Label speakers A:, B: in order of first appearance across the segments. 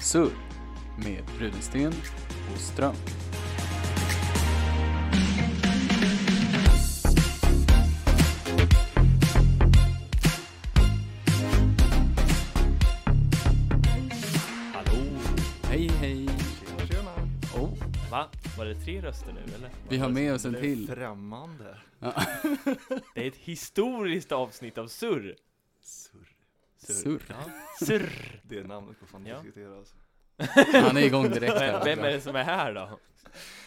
A: Surr med Rudensten och Ström.
B: Hallå!
A: Hej hej!
C: Tjena, tjena.
A: Oh,
B: Va? Var det tre röster nu eller?
A: vi har med oss en
C: Det är
A: till.
C: Främmande.
B: Det är ett historiskt avsnitt av surr!
C: Surr.
A: Surr.
B: Ja. Surr!
C: Det är namnet på fan
B: Ja.
C: diskutera alltså.
A: Han är igång direkt.
B: Vem,
A: Här.
B: vem är det som är här då?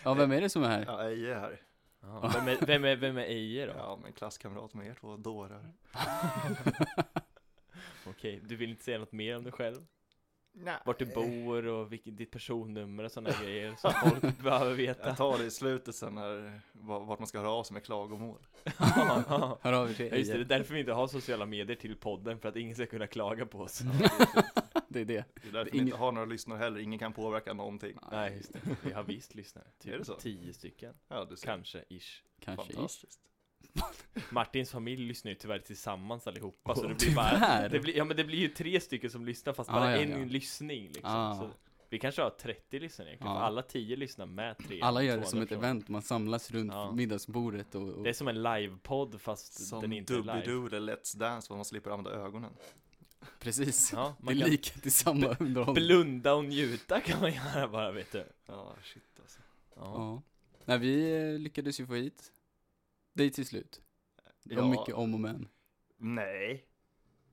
A: Ja, vem är det som är här?
C: Ja, Eje här.
B: Ja, Vem är, vem är, vem är Eje då?
C: Ja, men klasskamrat med er två dårar.
B: Okej, du vill inte säga något mer om dig själv?
C: Nej.
B: Vart du bor och vilket, ditt personnummer och sådana grejer som folk behöver veta?
C: Jag tar det i slutet sen när, va- vart man ska höra av sig med klagomål.
B: Ja,
A: Hör av er till
B: Ja, just det, det är
A: Eje.
B: därför vi inte har sociala medier till podden, för att ingen ska kunna klaga på oss.
A: Det är det.
C: Det är därför vi
A: Ingen-
C: inte har några lyssnare heller, ingen kan påverka någonting.
B: Nej, just det. Vi har visst lyssnare. Typ
C: Är det så?
B: tio stycken.
C: Ja, du ser.
B: Kanske, ish.
A: Kanske ish.
C: Fantastiskt.
B: Martins familj lyssnar ju tyvärr tillsammans allihopa, så
A: Åh,
B: det blir bara...
A: tyvärr.
B: Det blir, ja men det blir ju tre stycken som lyssnar, fast
A: Ah,
B: bara
A: ja,
B: en
A: ja.
B: lyssning liksom.
A: Ah.
B: Så vi kanske har 30 lyssnare egentligen,
A: Ja.
B: för alla tio lyssnar med tre.
A: Alla gör det
B: 200
A: som ett
B: personer.
A: event, man samlas runt
B: Ja.
A: middagsbordet och, och
B: Det är som en livepodd fast
C: Som
B: den inte är live.
C: Doobidoo eller Let's Dance, vad man slipper använda ögonen.
A: precis.
B: Ja,
A: Det är
B: man kan
A: lika, det är samma underhållning.
B: blunda och njuta kan man göra bara vet du.
C: Ja, shit alltså.
B: Ja.
A: Ja. Nej, vi eh, lyckades ju få hit dig till slut. Det var
C: Ja.
A: mycket om och men.
C: Nej.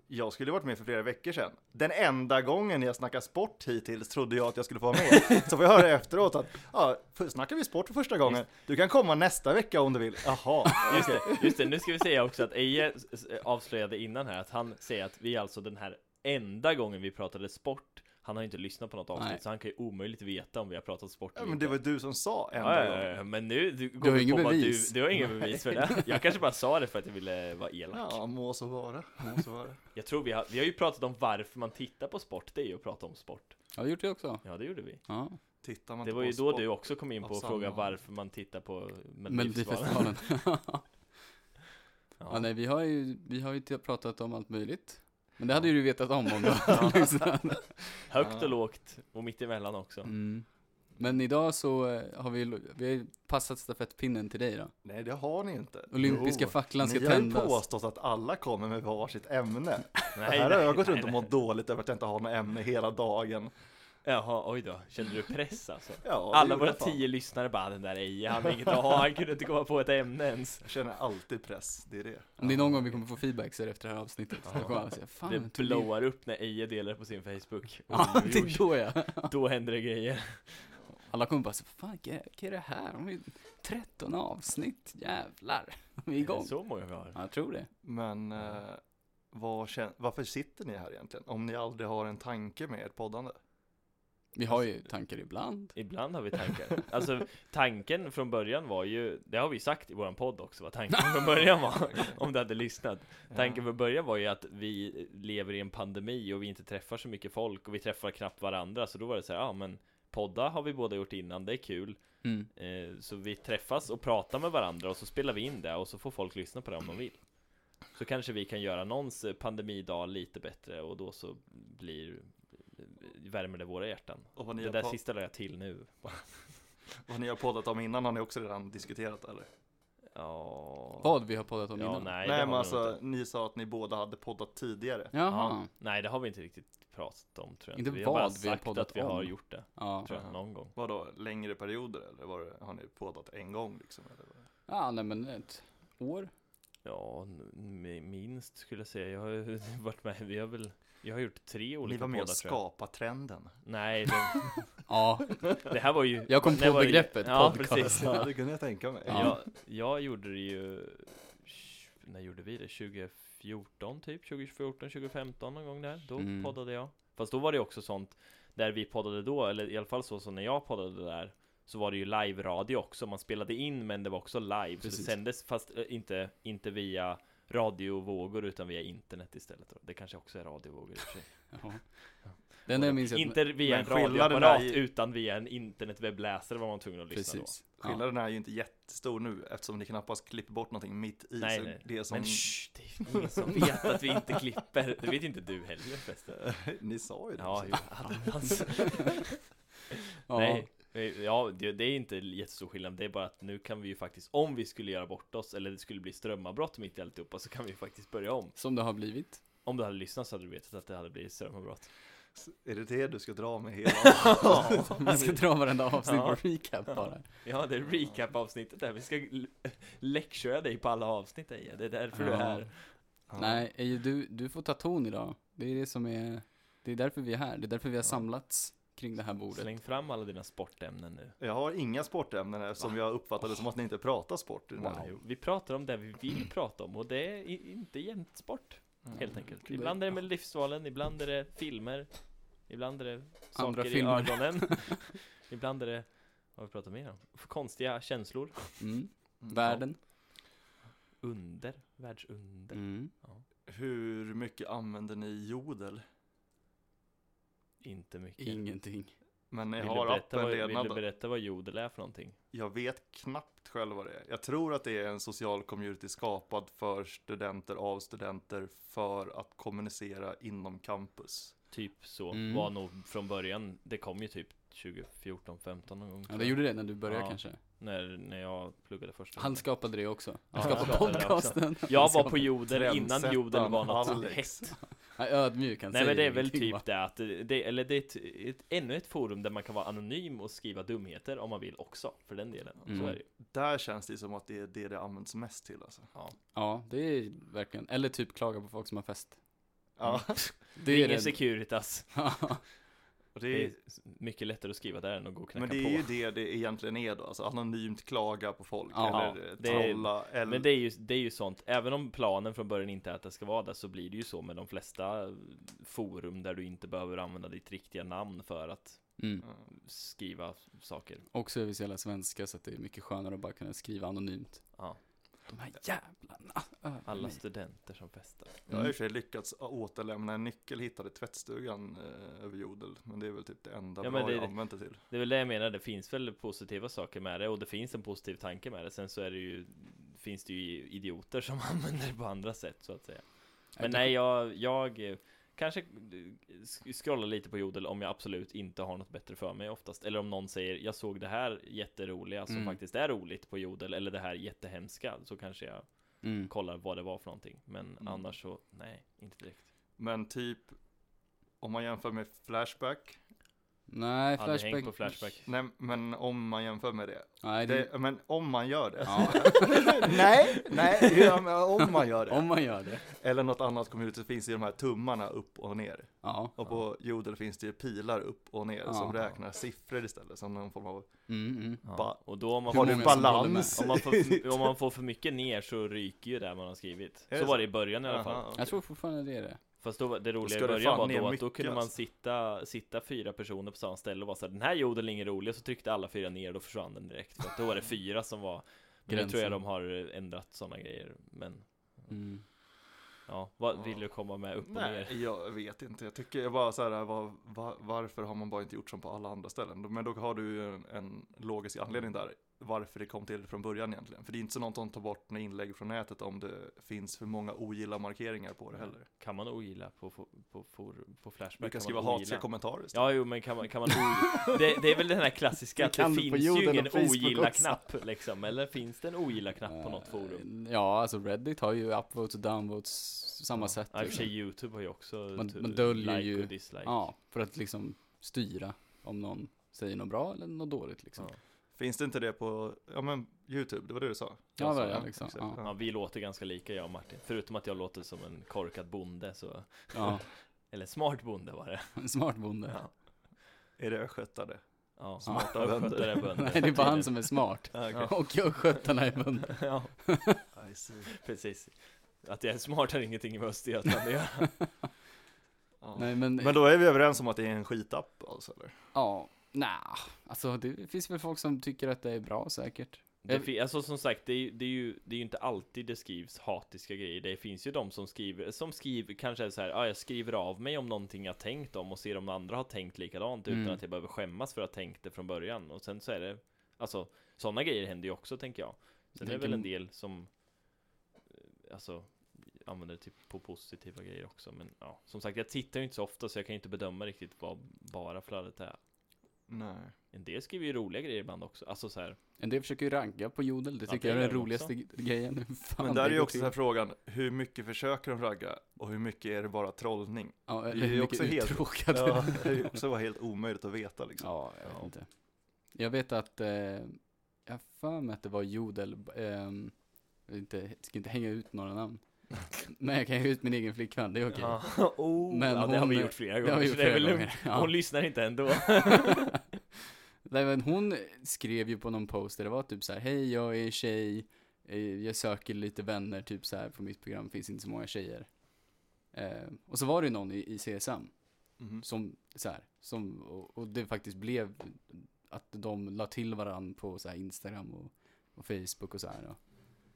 C: Jag skulle varit med för flera veckor sedan. Den enda gången jag snackat sport hittills trodde jag att jag skulle få vara med. Så får jag höra efteråt att, ja, för- snackar vi sport för första gången? Du kan komma nästa vecka om du vill. Jaha,
A: Ah,
B: Just det, just det, nu ska vi säga också att Eje s- s- avslöjade innan här att han säger att vi är alltså den här enda gången vi pratade sport Han har ju inte lyssnat på något avsnitt
A: Nej.
B: så han kan ju omöjligt veta om vi har pratat sport
C: Ja,
B: eller
C: men
B: inte.
C: det var du som sa
B: Ja,
C: enda
B: ja,
C: gången.
B: ja, men nu du, går
A: har
B: vi
A: inget
B: på vad
A: bevis.
B: Du, du har inga bevis för det. Jag kanske bara sa det för att jag ville vara elak.
C: Ja, må så vara. Må så vara.
B: Jag tror vi har, vi har ju pratat om varför man tittar på sport. Det är ju att prata om sport.
A: Jag har gjort det också.
B: Ja, det gjorde vi.
A: Ja,
C: Tittar man
B: Det
C: inte
B: var
C: på
B: ju då
C: sport-
B: du också kom in på
C: av
B: och frågade
C: samma-
B: varför man tittar på Melodifestivalen.
A: Melodifestivalen. ja,
B: Ja.
A: nej, vi har ju, vi har ju t- pratat om allt möjligt. Men det hade ju du vetat om om du hade lyssnat.
B: Högt
C: Ja.
B: och lågt och mittemellan också.
A: Mm. Men idag så eh, har vi, vi har ju passat stafettpinnen till dig då.
C: Nej, det har ni inte.
A: Olympiska facklan ska
C: Ni har ju
A: tändas.
C: påstått att alla kommer med varsitt ämne.
B: Nej,
C: här har
B: nej,
C: jag gått
B: nej,
C: runt och
B: nej.
C: mått dåligt över att jag inte har något ämne hela dagen.
B: Jaha, oj då. Kände du press alltså?
C: Ja, det
B: Alla
C: gjorde
B: våra
C: jag fan.
B: tio lyssnare bara den där Eje, han har inget att ha, han kunde inte komma på ett ämne ens.
C: Jag känner alltid press, det är det.
A: Om det är någon gång vi kommer få feedback så är det efter det här avsnittet. Då kommer alla säga, fan, jag
B: Det
A: trodde-
B: blowar upp när Eje delar det på sin Facebook.
A: Ja,
B: Oj,
A: det
B: oj,
A: är då ja.
B: oj. Då händer det grejer.
A: Alla kommer bara så, fan, vad är vad är det här? De har ju 13 avsnitt, jävlar. Vi är
B: Är det
A: igång.
B: Så många vi har.
A: Ja, jag tror det.
C: Men eh, vad kän- varför sitter ni här egentligen? Om ni aldrig har en tanke med ert poddande?
A: Vi har ju tankar ibland.
B: Ibland har vi tankar. Alltså tanken från början var ju, det har vi sagt i våran podd också vad tanken från början var. Om du hade lyssnat. Tanken från början var ju att vi lever i en pandemi och vi inte träffar så mycket folk och vi träffar knappt varandra. Så då var det så här, ja men podda har vi båda gjort innan, det är kul.
A: Mm.
B: Eh, Så vi träffas och pratar med varandra och så spelar vi in det och så får folk lyssna på det om de vill. Så kanske vi kan göra någons eh, pandemidag lite bättre och då så blir värmer det våra hjärtan.
C: Och vad ni,
B: Det
C: har
B: där
C: pod-
B: sista la jag till nu.
C: vad ni har poddat om innan har ni också redan diskuterat eller?
B: Ja.
A: Vad vi har poddat om
B: Ja,
A: innan.
B: nej, det har
C: Nej men
B: vi nog
C: alltså,
B: inte.
C: ni sa att ni båda hade poddat tidigare.
A: Jaha.
B: Ja, nej, det har vi inte riktigt pratat om tror jag.
A: Inte
B: vi har bara
A: vad vi har
B: sagt
A: poddat
B: att vi har
A: om.
B: gjort det,
A: Ja.
B: tror jag,
C: Aha.
B: någon gång.
C: Vadå, längre perioder eller var det, har ni poddat en gång liksom? Eller? vad?
A: ja, nej men ett år.
B: Ja, n- mi- minst skulle jag säga. Jag har ju varit med, vi har väl, jag har gjort tre olika
C: Ni var med och
B: poddar, tror jag.
C: skapade trenden.
B: Nej, det,
A: Ja,
B: Det här var ju
A: Jag kom
B: det här
A: på
B: var ju-
A: begreppet,
B: Ja
A: podcast.
B: precis
C: Ja, det kunde jag tänka mig.
A: Ja.
B: jag, jag gjorde det ju När gjorde vi det? 2014 typ? 2014, 2015 någon gång där Då
A: Mm.
B: poddade jag Fast då var det också sånt Där vi poddade då Eller i alla fall så som när jag poddade där Så var det ju live-radio också Man spelade in men det var också live Så
A: Precis.
B: det sändes fast eh, inte, inte via radiovågor utan via internet istället då. Det kanske också är radiovågor i och för sig.
A: Jaha. Den där minns jag att-
B: Inte via
C: men
B: en
C: skillnaden är
B: radioapparat
C: ju-
B: utan via en internetwebbläsare var man tvungen att lyssna då
A: Precis.
C: Skillnaden är ju inte jättestor nu eftersom ni knappast klipper bort någonting mitt i.
B: Nej,
C: så
B: nej.
C: Det som...
B: Men shh, det är ingen som vet att vi inte klipper. Det vet inte du heller förresten.
C: ni sa ju det.
B: Ja, jo, attans.
A: Ja.
B: Nej. Ja, det, det är inte jättestor skillnad. Det är bara att nu kan vi ju faktiskt, om vi skulle göra bort oss, eller det skulle bli strömavbrott mitt i alltihopa, så kan vi ju faktiskt börja om.
A: Som det har blivit.
B: Om du hade lyssnat så hade du vetat att det hade blivit strömavbrott.
C: Är det det du ska dra med hela?
A: Man ska dra varenda avsnitt
B: Ja.
A: på recap bara.
B: Ja, det är recap-avsnittet där. Vi ska l- lectura dig på alla avsnitt, Eje. Det är därför du är
A: Ja.
B: här.
C: Ja.
A: Nej, Eje, du, du får ta ton idag. Det är det som är, det är därför vi är här. Det är därför vi har samlats kring det här bordet.
B: Släng fram alla dina sportämnen nu.
C: Jag har inga sportämnen eftersom jag uppfattade som att ni inte pratar sport. i den här.
B: Wow. Vi pratar om det vi vill prata om och det är i- inte jämt sport, Mm. helt enkelt.
A: Det-
B: Ibland är det med livsvalen, ibland är det filmer, ibland är det saker
A: Andra
B: i
A: filmer.
B: ögonen. ibland är det, vad har vi pratar mer om? För konstiga känslor.
A: Mm.
C: Mm.
A: Världen.
B: Under, världsunder.
A: Mm.
C: Hur mycket använder ni jodel?
B: Inte mycket.
A: Ingenting.
C: Men ni
B: Vill,
C: har
B: du berätta
C: appen
B: vad, vill
C: redan
B: du
C: då?
B: berätta vad jodel är för någonting?
C: Jag vet knappt själv vad det är. Jag tror att det är en social community skapad för studenter av studenter för att kommunicera inom campus.
B: Typ så,
A: Mm.
B: var nog från början. Det kom ju typ 2014, 15 någon gång.
A: Ja, det gjorde det när du började
B: Ja.
A: kanske.
B: när, när jag pluggade första
A: Han
B: gången.
A: skapade det också. Han
B: Ja,
A: skapade
B: jag skapade det
A: podcasten. Han
B: Jag var på
A: skapade-
B: jodel innan jodel var något
C: Alex.
B: hett.
A: Nej, Ödmjuk, han
B: Nej men
A: säger
B: det är väl
A: ingenting, va?
B: typ det att, det- det, eller det är ett, ett, ännu ett forum där man kan vara anonym och skriva dumheter om man vill också, för den delen.
A: Mm.
B: Så är det ju.
C: Där känns det som att det är det det används mest till alltså.
A: Ja, det är verkligen. Eller typ klaga på folk som har fest.
C: Ja,
A: Det är
B: Mm. Ingen
A: det.
B: Securitas.
A: Ja.
C: och det
B: Det
C: är,
B: är mycket lättare att skriva där än att gå och knacka
C: men det är ju
B: på.
C: det det egentligen är då, alltså anonymt klaga på folk
A: Ja,
C: eller
B: det är-
C: trolla eller...
B: Men det är, ju, det är ju sånt, även om planen från början inte är att det ska vara där så blir det ju så med de flesta forum där du inte behöver använda ditt riktiga namn för att
A: Mm.
B: skriva saker.
A: Och så är vi så jävla svenska så att det är mycket skönare att bara kunna skriva anonymt.
B: Ja.
A: De här jävlarna. Öh, över
B: Alla
A: mig.
B: studenter som festar.
C: Jag
A: Mm.
C: har i och för sig lyckats återlämna en nyckel hittade i tvättstugan eh, över jodel, men det är väl typ det enda
B: Ja, men
C: bra
B: det-
C: jag använt det till.
B: Det är väl det jag menar, det finns väl positiva saker med det och det finns en positiv tanke med det. Sen så är det ju, finns det ju idioter som använder det på andra sätt så att säga. Men nej, jag, jag eh, kanske eh, sk- scrollar lite på Jodel om jag absolut inte har något bättre för mig oftast. Eller om någon säger jag såg det här jätteroliga som
A: Mm.
B: faktiskt är roligt på Jodel eller det här jättehemska så kanske jag
A: Mm.
B: kollar vad det var för någonting. Men
C: Mm.
B: annars så nej, inte direkt.
C: Men typ, om man jämför med Flashback,
A: Nej,
B: Hade hängt
A: Flashback.
B: på Flashback.
C: nej men om man jämför med det,
A: Nej, det...
C: det men om man gör det.
A: Ja.
C: nej, nej, ja, men om man gör det.
A: Om man gör det.
C: Eller något annat community så finns det ju de här tummarna upp och ner.
A: Ja.
C: Och på jodel finns det ju pilar upp och ner som
A: Ja.
C: räknar siffror istället, som någon form av
A: Mm, mm.
C: ba-
B: Och då om man
A: Hur
C: har
B: får
C: du
A: många som håller med?
C: balans.
B: Om man, får, om man får för mycket ner så ryker ju det man har skrivit.
C: Är
B: så
C: det
B: var
C: så?
B: det i början i alla
C: Aha,
B: fall.
C: okej.
A: Jag tror fortfarande det är det.
B: Fast då, var- det roliga
C: ska
B: i
C: det
B: början
C: fan
B: var
C: ner
B: då att då
C: mycket,
B: kunde man
C: alltså.
B: sitta, sitta fyra personer på samma ställe och vara såhär Den här jodeln är ingen rolig, och så tryckte alla fyra ner och då försvann den direkt. För att då var det fyra som var Men nu tror
A: Gränsen.
B: jag de har eh, ändrat sådana grejer. Men
A: Mm.
B: ja, vad
C: Ja.
B: vill du komma med upp och ner?
C: Nej, jag vet inte. Jag tycker bara så här, var, var, varför har man bara inte gjort som på alla andra ställen? Men då har du ju en, en logisk anledning där, varför det kom till från början egentligen. För det är inte så någon som tar bort några inlägg från nätet om det finns för många ogilla markeringar på det heller.
B: Kan man ogilla på, på, på, på, på Flashback?
C: Du kan
B: man
C: skriva
B: ogilla?
C: hatiga kommentarer istället.
B: Ja, jo, men kan man, kan man o- det, det är väl den här klassiska
A: Det
B: att
A: kan
B: det
A: du på
B: finns ju
A: jorden och
B: ingen
A: Facebook
B: ogilla-knapp liksom, eller finns det en ogilla-knapp på något forum?
A: Eh, Ja, alltså Reddit har ju upvotes och downvotes samma
B: Ja.
A: sätt.
B: Ja, i och för
A: liksom.
B: sig YouTube har ju också
A: Man-
B: tu-
A: man döljer
B: like
A: ju-
B: och dislike.
A: Ja, för att liksom styra om någon säger något bra eller något dåligt liksom.
B: Ja.
C: Finns det inte det på, ja men, YouTube, det var det du sa?
A: Ja,
C: Jag
A: det
C: sa,
A: var det, liksom.
C: exakt.
A: Ja.
B: Ja, vi låter ganska lika jag och Martin, förutom att jag låter som en korkad bonde så
A: Ja,
B: Eller smart bonde var det
A: en smart bonde.
B: Ja,
C: Är det östgötare?
B: ja.
A: Smarta
B: Ja,
C: bönder.
B: skötare bönder
A: Nej, det är bara han som är smart.
C: Ja,
A: Och jag sköttarna är bönder.
B: Ja,
C: okay. I see.
B: precis Att jag är smart har ingenting med Östergötland att göra
C: Ja.
A: Nej, men,
C: Men då är vi överens om att det är en skitapp alltså, eller?
A: ja, nej. Alltså det finns väl folk som tycker att det är bra säkert.
B: det fi- Alltså som sagt, det är, ju- det, är ju, det är ju inte alltid det skrivs hatiska grejer Det finns ju de som skriver, som skriver kanske är så här, ja jag skriver av mig om någonting jag tänkt om och ser om andra har tänkt likadant utan
A: Mm.
B: att jag behöver skämmas för att ha tänkt det från början och sen så är det Alltså Sådana grejer händer ju också tänker jag. Sen är det
A: Tänker
B: väl en
A: m-
B: del som eh, Alltså Använder typ på positiva grejer också men ja Som sagt jag tittar ju inte så ofta så jag kan ju inte bedöma riktigt vad bara flödet är
C: Nej.
B: En del skriver ju roliga grejer ibland också, alltså så här.
A: En del försöker ju ranka på jodel, det
B: Ja,
A: tycker
B: det
A: jag är
B: gör
A: den
B: de
A: roligaste g- grejen. Hur fan
C: Men där är
A: det
C: ju
A: går
C: också
A: till.
C: så här frågan, hur mycket försöker de ragga och hur mycket är det bara trollning?
A: ja,
C: det är
A: eller
C: ju
A: hur
C: också
A: mycket
C: helt-
A: uttråkade.
C: Ja,
A: Ja.
C: det är ju också bara helt omöjligt att veta liksom.
A: jag vet
B: Ja.
A: inte. Jag vet att, eh, jag har för mig att det var jodel, ehm, jag vill inte, jag ska inte hänga ut några namn. Men jag kan hänga ut min egen flickvän, det är okej.
B: ja. Oh,
A: Men
B: ja, det har vi
A: hon-
B: gjort flera
A: Det
B: gånger,
A: har vi
B: så
A: gjort
B: det är
A: flera
B: väl lugnt.
A: gånger. Ja. Mm.
B: Hon lyssnar inte ändå
A: Nej men hon skrev ju på någon post där det var typ så här, hej jag är tjej, eh, jag söker lite vänner, typ så här på mitt program finns inte så många tjejer. Eh, och så var det ju någon i, i CSM
C: Mhm.
A: som, så här, som, och, och det faktiskt blev att de la till varandra på så här Instagram och, och Facebook och så här. Ja.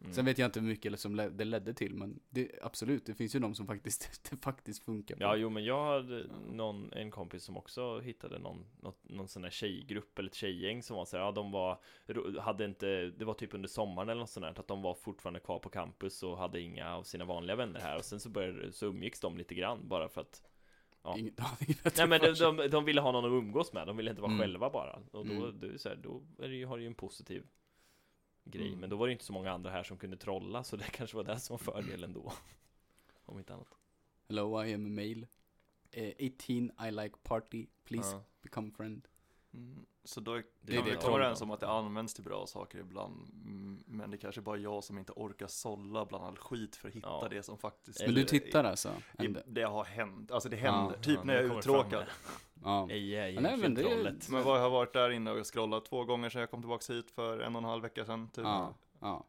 B: Mm.
A: Sen vet jag inte hur mycket som le- det ledde till, men det, absolut, det finns ju de som faktiskt, det faktiskt funkar. på.
B: Ja, jo men jag hade någon, en kompis som också hittade någon, något, någon sån här tjejgrupp eller ett tjejgäng som var så här, ja de var, ro- hade inte, det var typ under sommaren eller något sånt där, att de var fortfarande kvar på campus och hade inga av sina vanliga vänner här och sen så började, så umgicks de lite grann bara för att ja.
A: Ingen, de har inget bättre
B: Nej men de,
A: för sig.
B: de, de ville ha någon att umgås med, de ville inte vara
A: Mm.
B: själva bara Och då,
A: Mm.
B: det är så här, då är det ju, har det ju en positiv grej
C: Mm.
B: Men då var det ju inte så många andra här som kunde trolla Så det kanske var det som var fördelen då Om inte annat
A: Hello, I am a male. Eh, 18, I like party. Please
B: Ja.
A: become friend.
C: Mm. Så då
B: Det
A: är
C: kan
A: det
C: vi
A: jag
C: komma
A: tror.
C: överens om att det används till bra saker ibland. Mm, Men det kanske bara är jag som inte orkar sålla bland all skit för att hitta
B: Ja.
C: det som faktiskt
A: Men
B: Eller
A: du tittar alltså?
C: I,
A: ändå?
C: det har hänt, alltså det
A: Ja.
C: händer, typ
B: Ja,
C: när jag
B: nu
C: är
B: kommer det fram
C: uttråkad.
B: här.
A: Ja.
B: Ej,
A: Ja, nej, men det är- Mm.
B: trollet
C: Men vad jag har varit där inne och scrollat två gånger sedan jag kom tillbaks hit för en och en halv vecka sedan. Typ.
A: Ja. ja.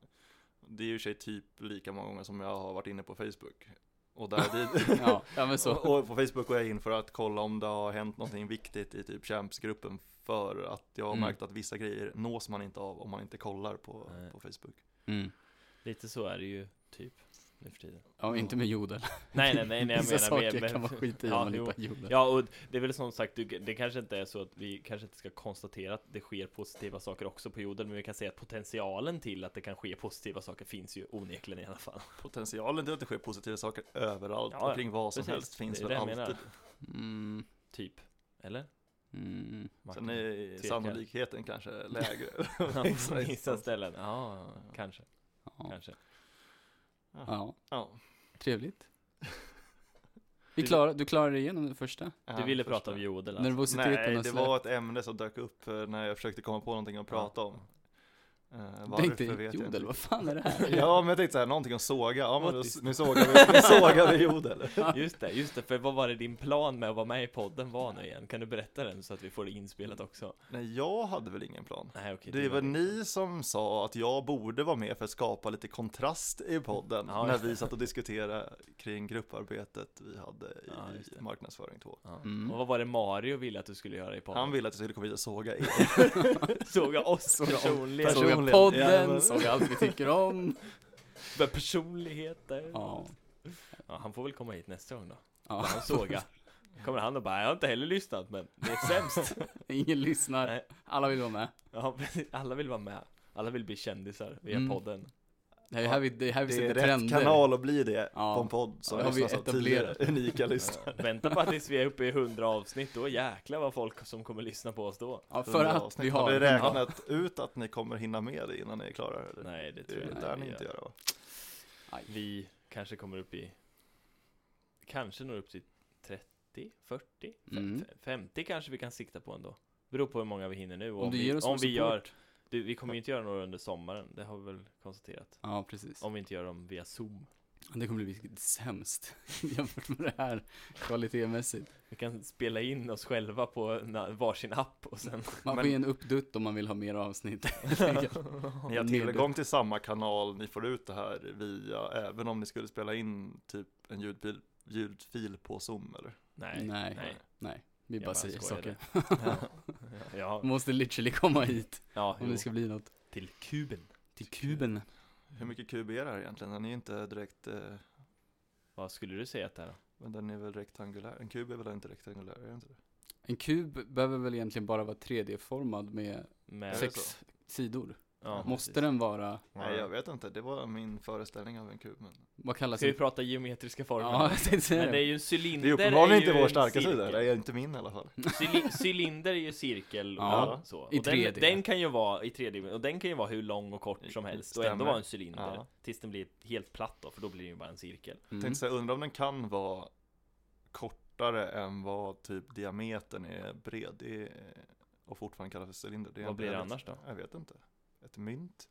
C: Det är ju i och för sig typ lika många gånger som jag har varit inne på Facebook. Och, där dit,
A: Ja, ja men så.
C: och, och på Facebook går jag in för att kolla om det har hänt någonting viktigt i typ champsgruppen för att jag har
A: Mm.
C: märkt att vissa grejer nås man inte av om man inte kollar på,
B: Nej.
C: på Facebook.
A: Mm.
B: Lite så är det ju typ nu för tiden
A: Ja, inte med jodel.
B: Nej nej nej, nej jag
A: Vissa
B: menar
A: saker
B: med, med,
A: kan man skita i
B: Ja,
A: om man
B: jo.
A: inte har jodel.
B: Ja och det är väl som sagt, du- det kanske inte är så att vi kanske inte ska konstatera att det sker positiva saker också på jorden Men vi kan säga att potentialen till att det kan ske positiva saker finns ju onekligen i alla fall
C: Potentialen till att det sker positiva saker överallt
B: Ja,
C: och kring vad som
B: precis.
C: helst finns
B: Det är
C: väl
B: det jag menar.
C: alltid.
A: Mm.
B: Typ, eller?
A: Mm.
B: Martin?
C: Sen är
B: Tvekar.
C: sannolikheten kanske lägre.
B: Ja, på vissa
C: instanser.
B: ställen, ja, kanske,
A: Ja.
B: kanske
A: ja,
C: Ja.
A: trevligt. Vi klarar, du klarade igenom den första?
B: Du
C: Ja,
B: ville
C: första.
B: prata om jodel alltså.
A: Nervositeten
C: Nej,
A: och
C: det
A: sådär.
C: var ett ämne som dök upp eh, när jag försökte komma på någonting att prata om. Eh,
A: Det är
C: varför
A: inte
C: vet jag
A: jodel,
C: inte.
A: vad fan är det här?
C: Ja, men jag tänkte såhär, någonting att såga. Ja, men då,
B: Åtis.
C: nu sågar vi, nu sågar vi jodel.
B: alltså. Just det, just det, för vad var det din plan med att vara med i podden var nu igen? Kan du berätta den så att vi får det inspelat också?
C: Nej, jag hade väl ingen plan.
B: Nej okej
C: Det
B: du
C: var ni som sa att jag borde vara med för att skapa lite kontrast i podden
B: Ja,
C: när
B: just
C: vi satt och diskuterade kring grupparbetet vi hade i
B: Ja, just det.
C: marknadsföring 2.
B: ja.
A: Mm.
B: Och vad var det Mario ville att du skulle göra i podden?
C: Han ville att jag skulle komma hit och såga er.
B: Såga oss personligen,
A: Såg jag
C: Person- personligen. Ja,
A: podden,
C: men-
A: såg jag allt vi tycker om.
B: För personligheter
A: Ja.
B: Ja, han får väl komma hit nästa gång då
A: Ja.
B: Han såga Kommer han och bara, jag har inte heller lyssnat men det är sämst
A: Ingen lyssnar,
B: Nej.
A: alla vill vara med.
B: ja, precis. Alla vill vara med Alla vill bli kändisar via
A: Mm.
B: podden
A: Det är ju här vi, det är här vi
C: Det är
A: sätter
C: rätt
A: trender.
C: kanal att bli det
A: Ja.
C: på en podd som
A: Ja, det har vi
C: lyssnas av tio
A: etablerat.
C: unika lyssnare.
B: ja, Eh, Vänta bara tills vi är uppe i 100 avsnitt Då jäklar vad folk som kommer lyssna på oss då
A: Ja, för att
C: avsnitt.
A: vi
C: har
A: har...
C: vi räknat ut att ni kommer hinna med det innan ni är klara? Eller?
B: Nej det
C: det
B: tror jag
C: lär ni inte
B: gör.
C: göra va?
A: Aj.
B: Vi kanske kommer upp i Kanske når upp till 30, 40, fe-
A: Mm.
B: fe- 50 kanske vi kan sikta på ändå Beror på hur många vi hinner nu och
A: Om du
B: vi,
A: ger oss
B: om
A: någon
B: vi gör
A: support.
B: Du, vi kommer ju inte göra några under sommaren, det har vi väl konstaterat.
A: Ja, precis.
B: Om vi inte gör dem via zoom.
A: Det kommer bli sämst jämfört med det här kvalitetmässigt.
B: Vi kan spela in oss själva på na- varsin app och sen...
A: Man får
C: Men-
A: ge en uppdutt om man vill ha mer avsnitt.
C: Ni har
A: Men
C: tillgång till samma kanal, ni får ut det här via, även om ni skulle spela in typ en ljudbil, ljudfil på Zoom eller?
B: Nej.
A: Nej.
B: nej.
A: Nej, vi
B: Jag
A: bara
B: bara
A: säger
B: skojade.
A: saker.
B: Ja,
A: Man måste literally komma hit
B: ja
A: om
B: jo.
A: det ska bli något.
B: till kuben.
A: Till kuben.
C: Hur mycket kub är det här egentligen? Den är inte direkt, eh,
B: Vad skulle du säga att det är då?
C: men den är väl rektangulär? En kub är väl inte rektangulär? Är den inte det?
A: En kub behöver väl egentligen bara vara 3D-formad med
B: Med
C: Sex-
A: sex sidor?
B: Ja,
A: Måste
B: precis.
A: den vara,
C: Nej, jag vet inte. Det var min föreställning av en kub. Men...
A: vad kallas
B: Ska vi
A: det?
B: prata geometriska former?
A: Ja, jag tänkte säga
B: Men det är
A: det.
B: ju en cylinder
C: Det är uppenbarligen
B: ju
C: inte vår
B: en
C: starka
B: cirkel.
C: sida. Det är inte min i alla fall.
B: Cyli- cylinder är ju cirkel och
A: Ja,
B: så. Och
A: i
B: den,
A: 3D.
B: den kan ju vara i 3D, och den kan ju vara hur lång och kort som helst och ändå
C: Stämmer.
B: vara en cylinder.
C: Ja.
B: Tills den blir helt platt då, för då blir det ju bara en cirkel.
A: Mm.
C: Tänkte säga, undrar om den kan vara kortare än vad typ diametern är bred det är, och fortfarande kallas för cylinder. är
B: Vad
C: en
B: blir det
C: bred-
B: annars då?
C: Jag vet inte. Ett mynt?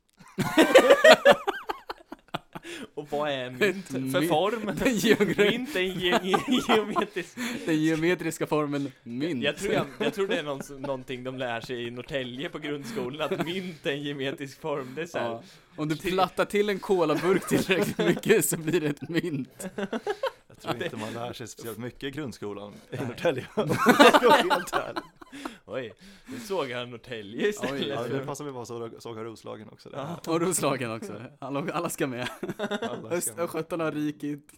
B: Och vad är mynt för
A: mynt.
B: form?
A: Den, geogra-
B: mynt är en ge- geometrisk
A: den geometriska formen mynt.
B: Jag tror, jag, jag tror det är någon, som- någonting de lär sig i Norrtälje på grundskolan, att mynt är en geometrisk form. Det är så här,
A: Ja. Om du plattar till en colaburk tillräckligt mycket så blir det ett mynt.
C: Jag tror
B: Det-
C: inte man lär sig speciellt mycket i grundskolan i
B: Nej.
C: Norrtälje. Om jag ska vara helt ärlig.
B: oj, nu såg han Norrtälje istället.
A: Oj,
C: Ja,
A: Eller-
C: det passar väl bra att såga Roslagen också. Där.
B: Ja.
A: Och Roslagen också. Alla, alla ska med.
C: Alla ska-
A: Östgötarna har rikit.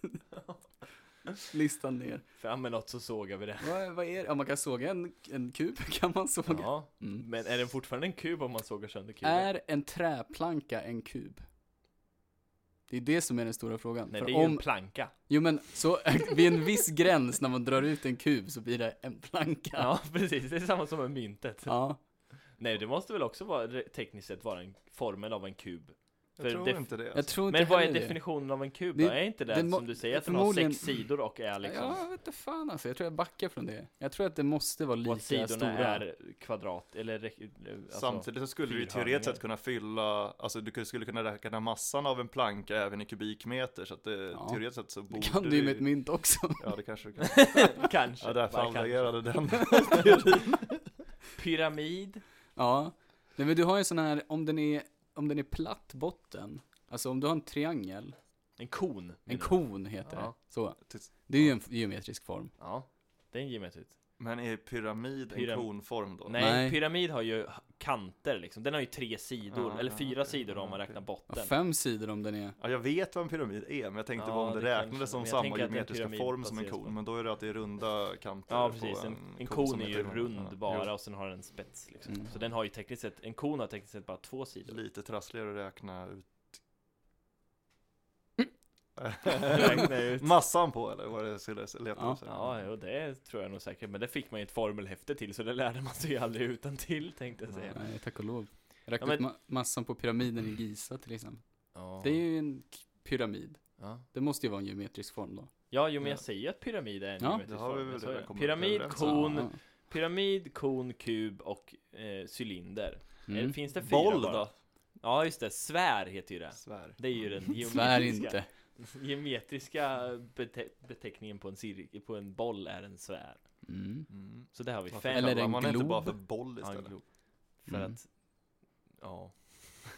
A: Listan ner.
B: Fram med något så sågar vi det.
A: Vad, vad är det? Ja, man kan såga en, en kub, kan man såga.
B: Ja,
A: Mm.
B: men är den fortfarande en kub om man sågar sönder kuben?
A: Är en träplanka en kub? Det är det som är den stora frågan.
B: Nej,
A: För
B: det är ju
A: om,
B: en planka.
A: Jo men så, vid en viss gräns när man drar ut en kub så blir det en planka.
B: Ja, precis. Det är samma som med myntet.
A: Ja.
B: Nej, det måste väl också vara re- tekniskt sett vara en formen av en kub.
C: Jag tror
B: För def-
C: inte det.
A: Jag tror inte
B: Alltså. Men vad är
A: heller det.
B: definitionen av en kub
A: Det-
B: då? Är inte det,
A: det må-
B: som du säger, att den har
A: förmodligen-
B: sex sidor och är liksom...
A: Ja, jag vet inte fan alltså. Jag tror jag backar från det. Jag tror att det måste vara
B: och
A: lika
B: att sidorna
A: stora.
B: är kvadrat, eller... rek- Alltså,
C: Samtidigt så skulle du ju teoretiskt sett kunna fylla, alltså du skulle kunna räkna massan av en planka även i kubikmeter så att det,
A: Ja.
C: teoretiskt sett så
A: Det
C: borde
A: kan du ju med ett mynt också.
C: Ja det kanske du kan.
B: kanske.
C: Ja därför
B: bara kanske.
C: anvägerade den.
B: Pyramid.
A: Ja. Nej men du har ju en sån här, om den är, om den är platt botten. Alltså om du har en triangel,
B: En kon.
A: en
B: menar du?
A: kon heter
B: Mm. Ja.
A: det. Så.
C: Tills-
A: Det är ju en f- geometrisk form.
B: Ja. Det är en geometri.
C: Men är pyramid
B: Pyram-
C: en konform då?
B: Nej,
A: Nej.
B: pyramid har ju kanter liksom. Den har ju tre sidor,
C: Ja,
B: eller
C: ja,
B: fyra
C: okej.
B: sidor om
C: Ja,
B: man
C: okej.
B: räknar
A: Ja,
B: botten.
A: fem sidor om den är.
C: Ja jag vet vad en pyramid är men jag tänkte
B: Ja,
C: bara om det,
B: det kanske-
C: räknades som
B: men jag
C: samma
B: tänker att en
C: geometriska
B: pyramid
C: form som en
B: baseras på-
C: kon men då är det att det är runda kanter
B: Ja
C: på
B: precis, en, en
C: ko
B: kon
C: som
B: är ju
C: pyramid.
B: rund
C: Ja,
B: bara och sen har den spets liksom.
A: Mm.
B: Så den har ju tekniskt sett, en kon har tekniskt sett bara två
C: jo.
B: sidor.
C: Lite trassligare att räkna ut
B: Räkna ut.
C: Massan på eller vad det skulle leta
A: Ja.
C: efter.
B: Ja, jo, det tror jag nog säkert. Men det fick man ju ett formelhäfte till, så det lärde man sig ju aldrig utan till tänkte jag säga.
A: Nej, tack och lov. Jag räknade
B: Ja,
A: ut ma- massan på pyramiden i Giza till exempel.
B: Ja.
A: Det är ju en k- pyramid.
B: Ja.
A: Det måste ju vara en geometrisk form då.
B: Ja, jo men
C: Ja.
B: jag säger ju att pyramid är en
A: Ja.
B: geometrisk
C: Det har vi
B: form,
C: väl
B: jag sa ju
C: redan
B: det.
C: kommit
B: Pyramid,
C: överens
B: kon,
A: Alltså, Ja.
B: pyramid, kon, kub och eh, cylinder.
A: Mm.
B: Eh, Finns det fyra
C: Boll
B: bara?
C: då?
B: Ja just det, svär heter ju det.
C: Svär.
B: Det är ju den
A: Svär
B: geometriska,
A: inte.
B: geometriska bete- beteckningen på en, cir- på en boll är en svär.
A: Mm.
C: Mm.
B: Så där har vi
C: Varför
B: fem.
A: Eller
C: kallar
A: en
C: man inte bara
A: glob.
C: för boll
B: Ja, en
C: istället?
B: glob. För
A: Mm.
B: att, ja,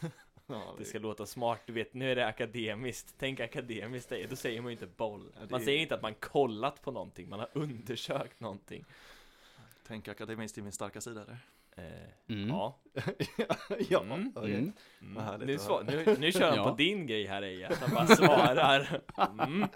C: Ja,
B: det ska låta smart. Du vet, nu är det akademiskt. Tänk akademiskt, det är- då säger man ju inte boll.
C: Ja, det
B: Man
C: är-
B: säger inte att man kollat på någonting, man har undersökt någonting.
C: Tänk akademiskt i min starka sida där.
B: Eh,
A: Mm.
B: Ja.
C: ja,
B: Mm.
C: okej.
A: Mm.
B: Mm.
C: Vad härligt
B: Nu,
C: att
B: svar,
C: höra.
B: nu, nu kör han
A: Ja.
B: på din grej här Eja, att han bara svarar. Mm.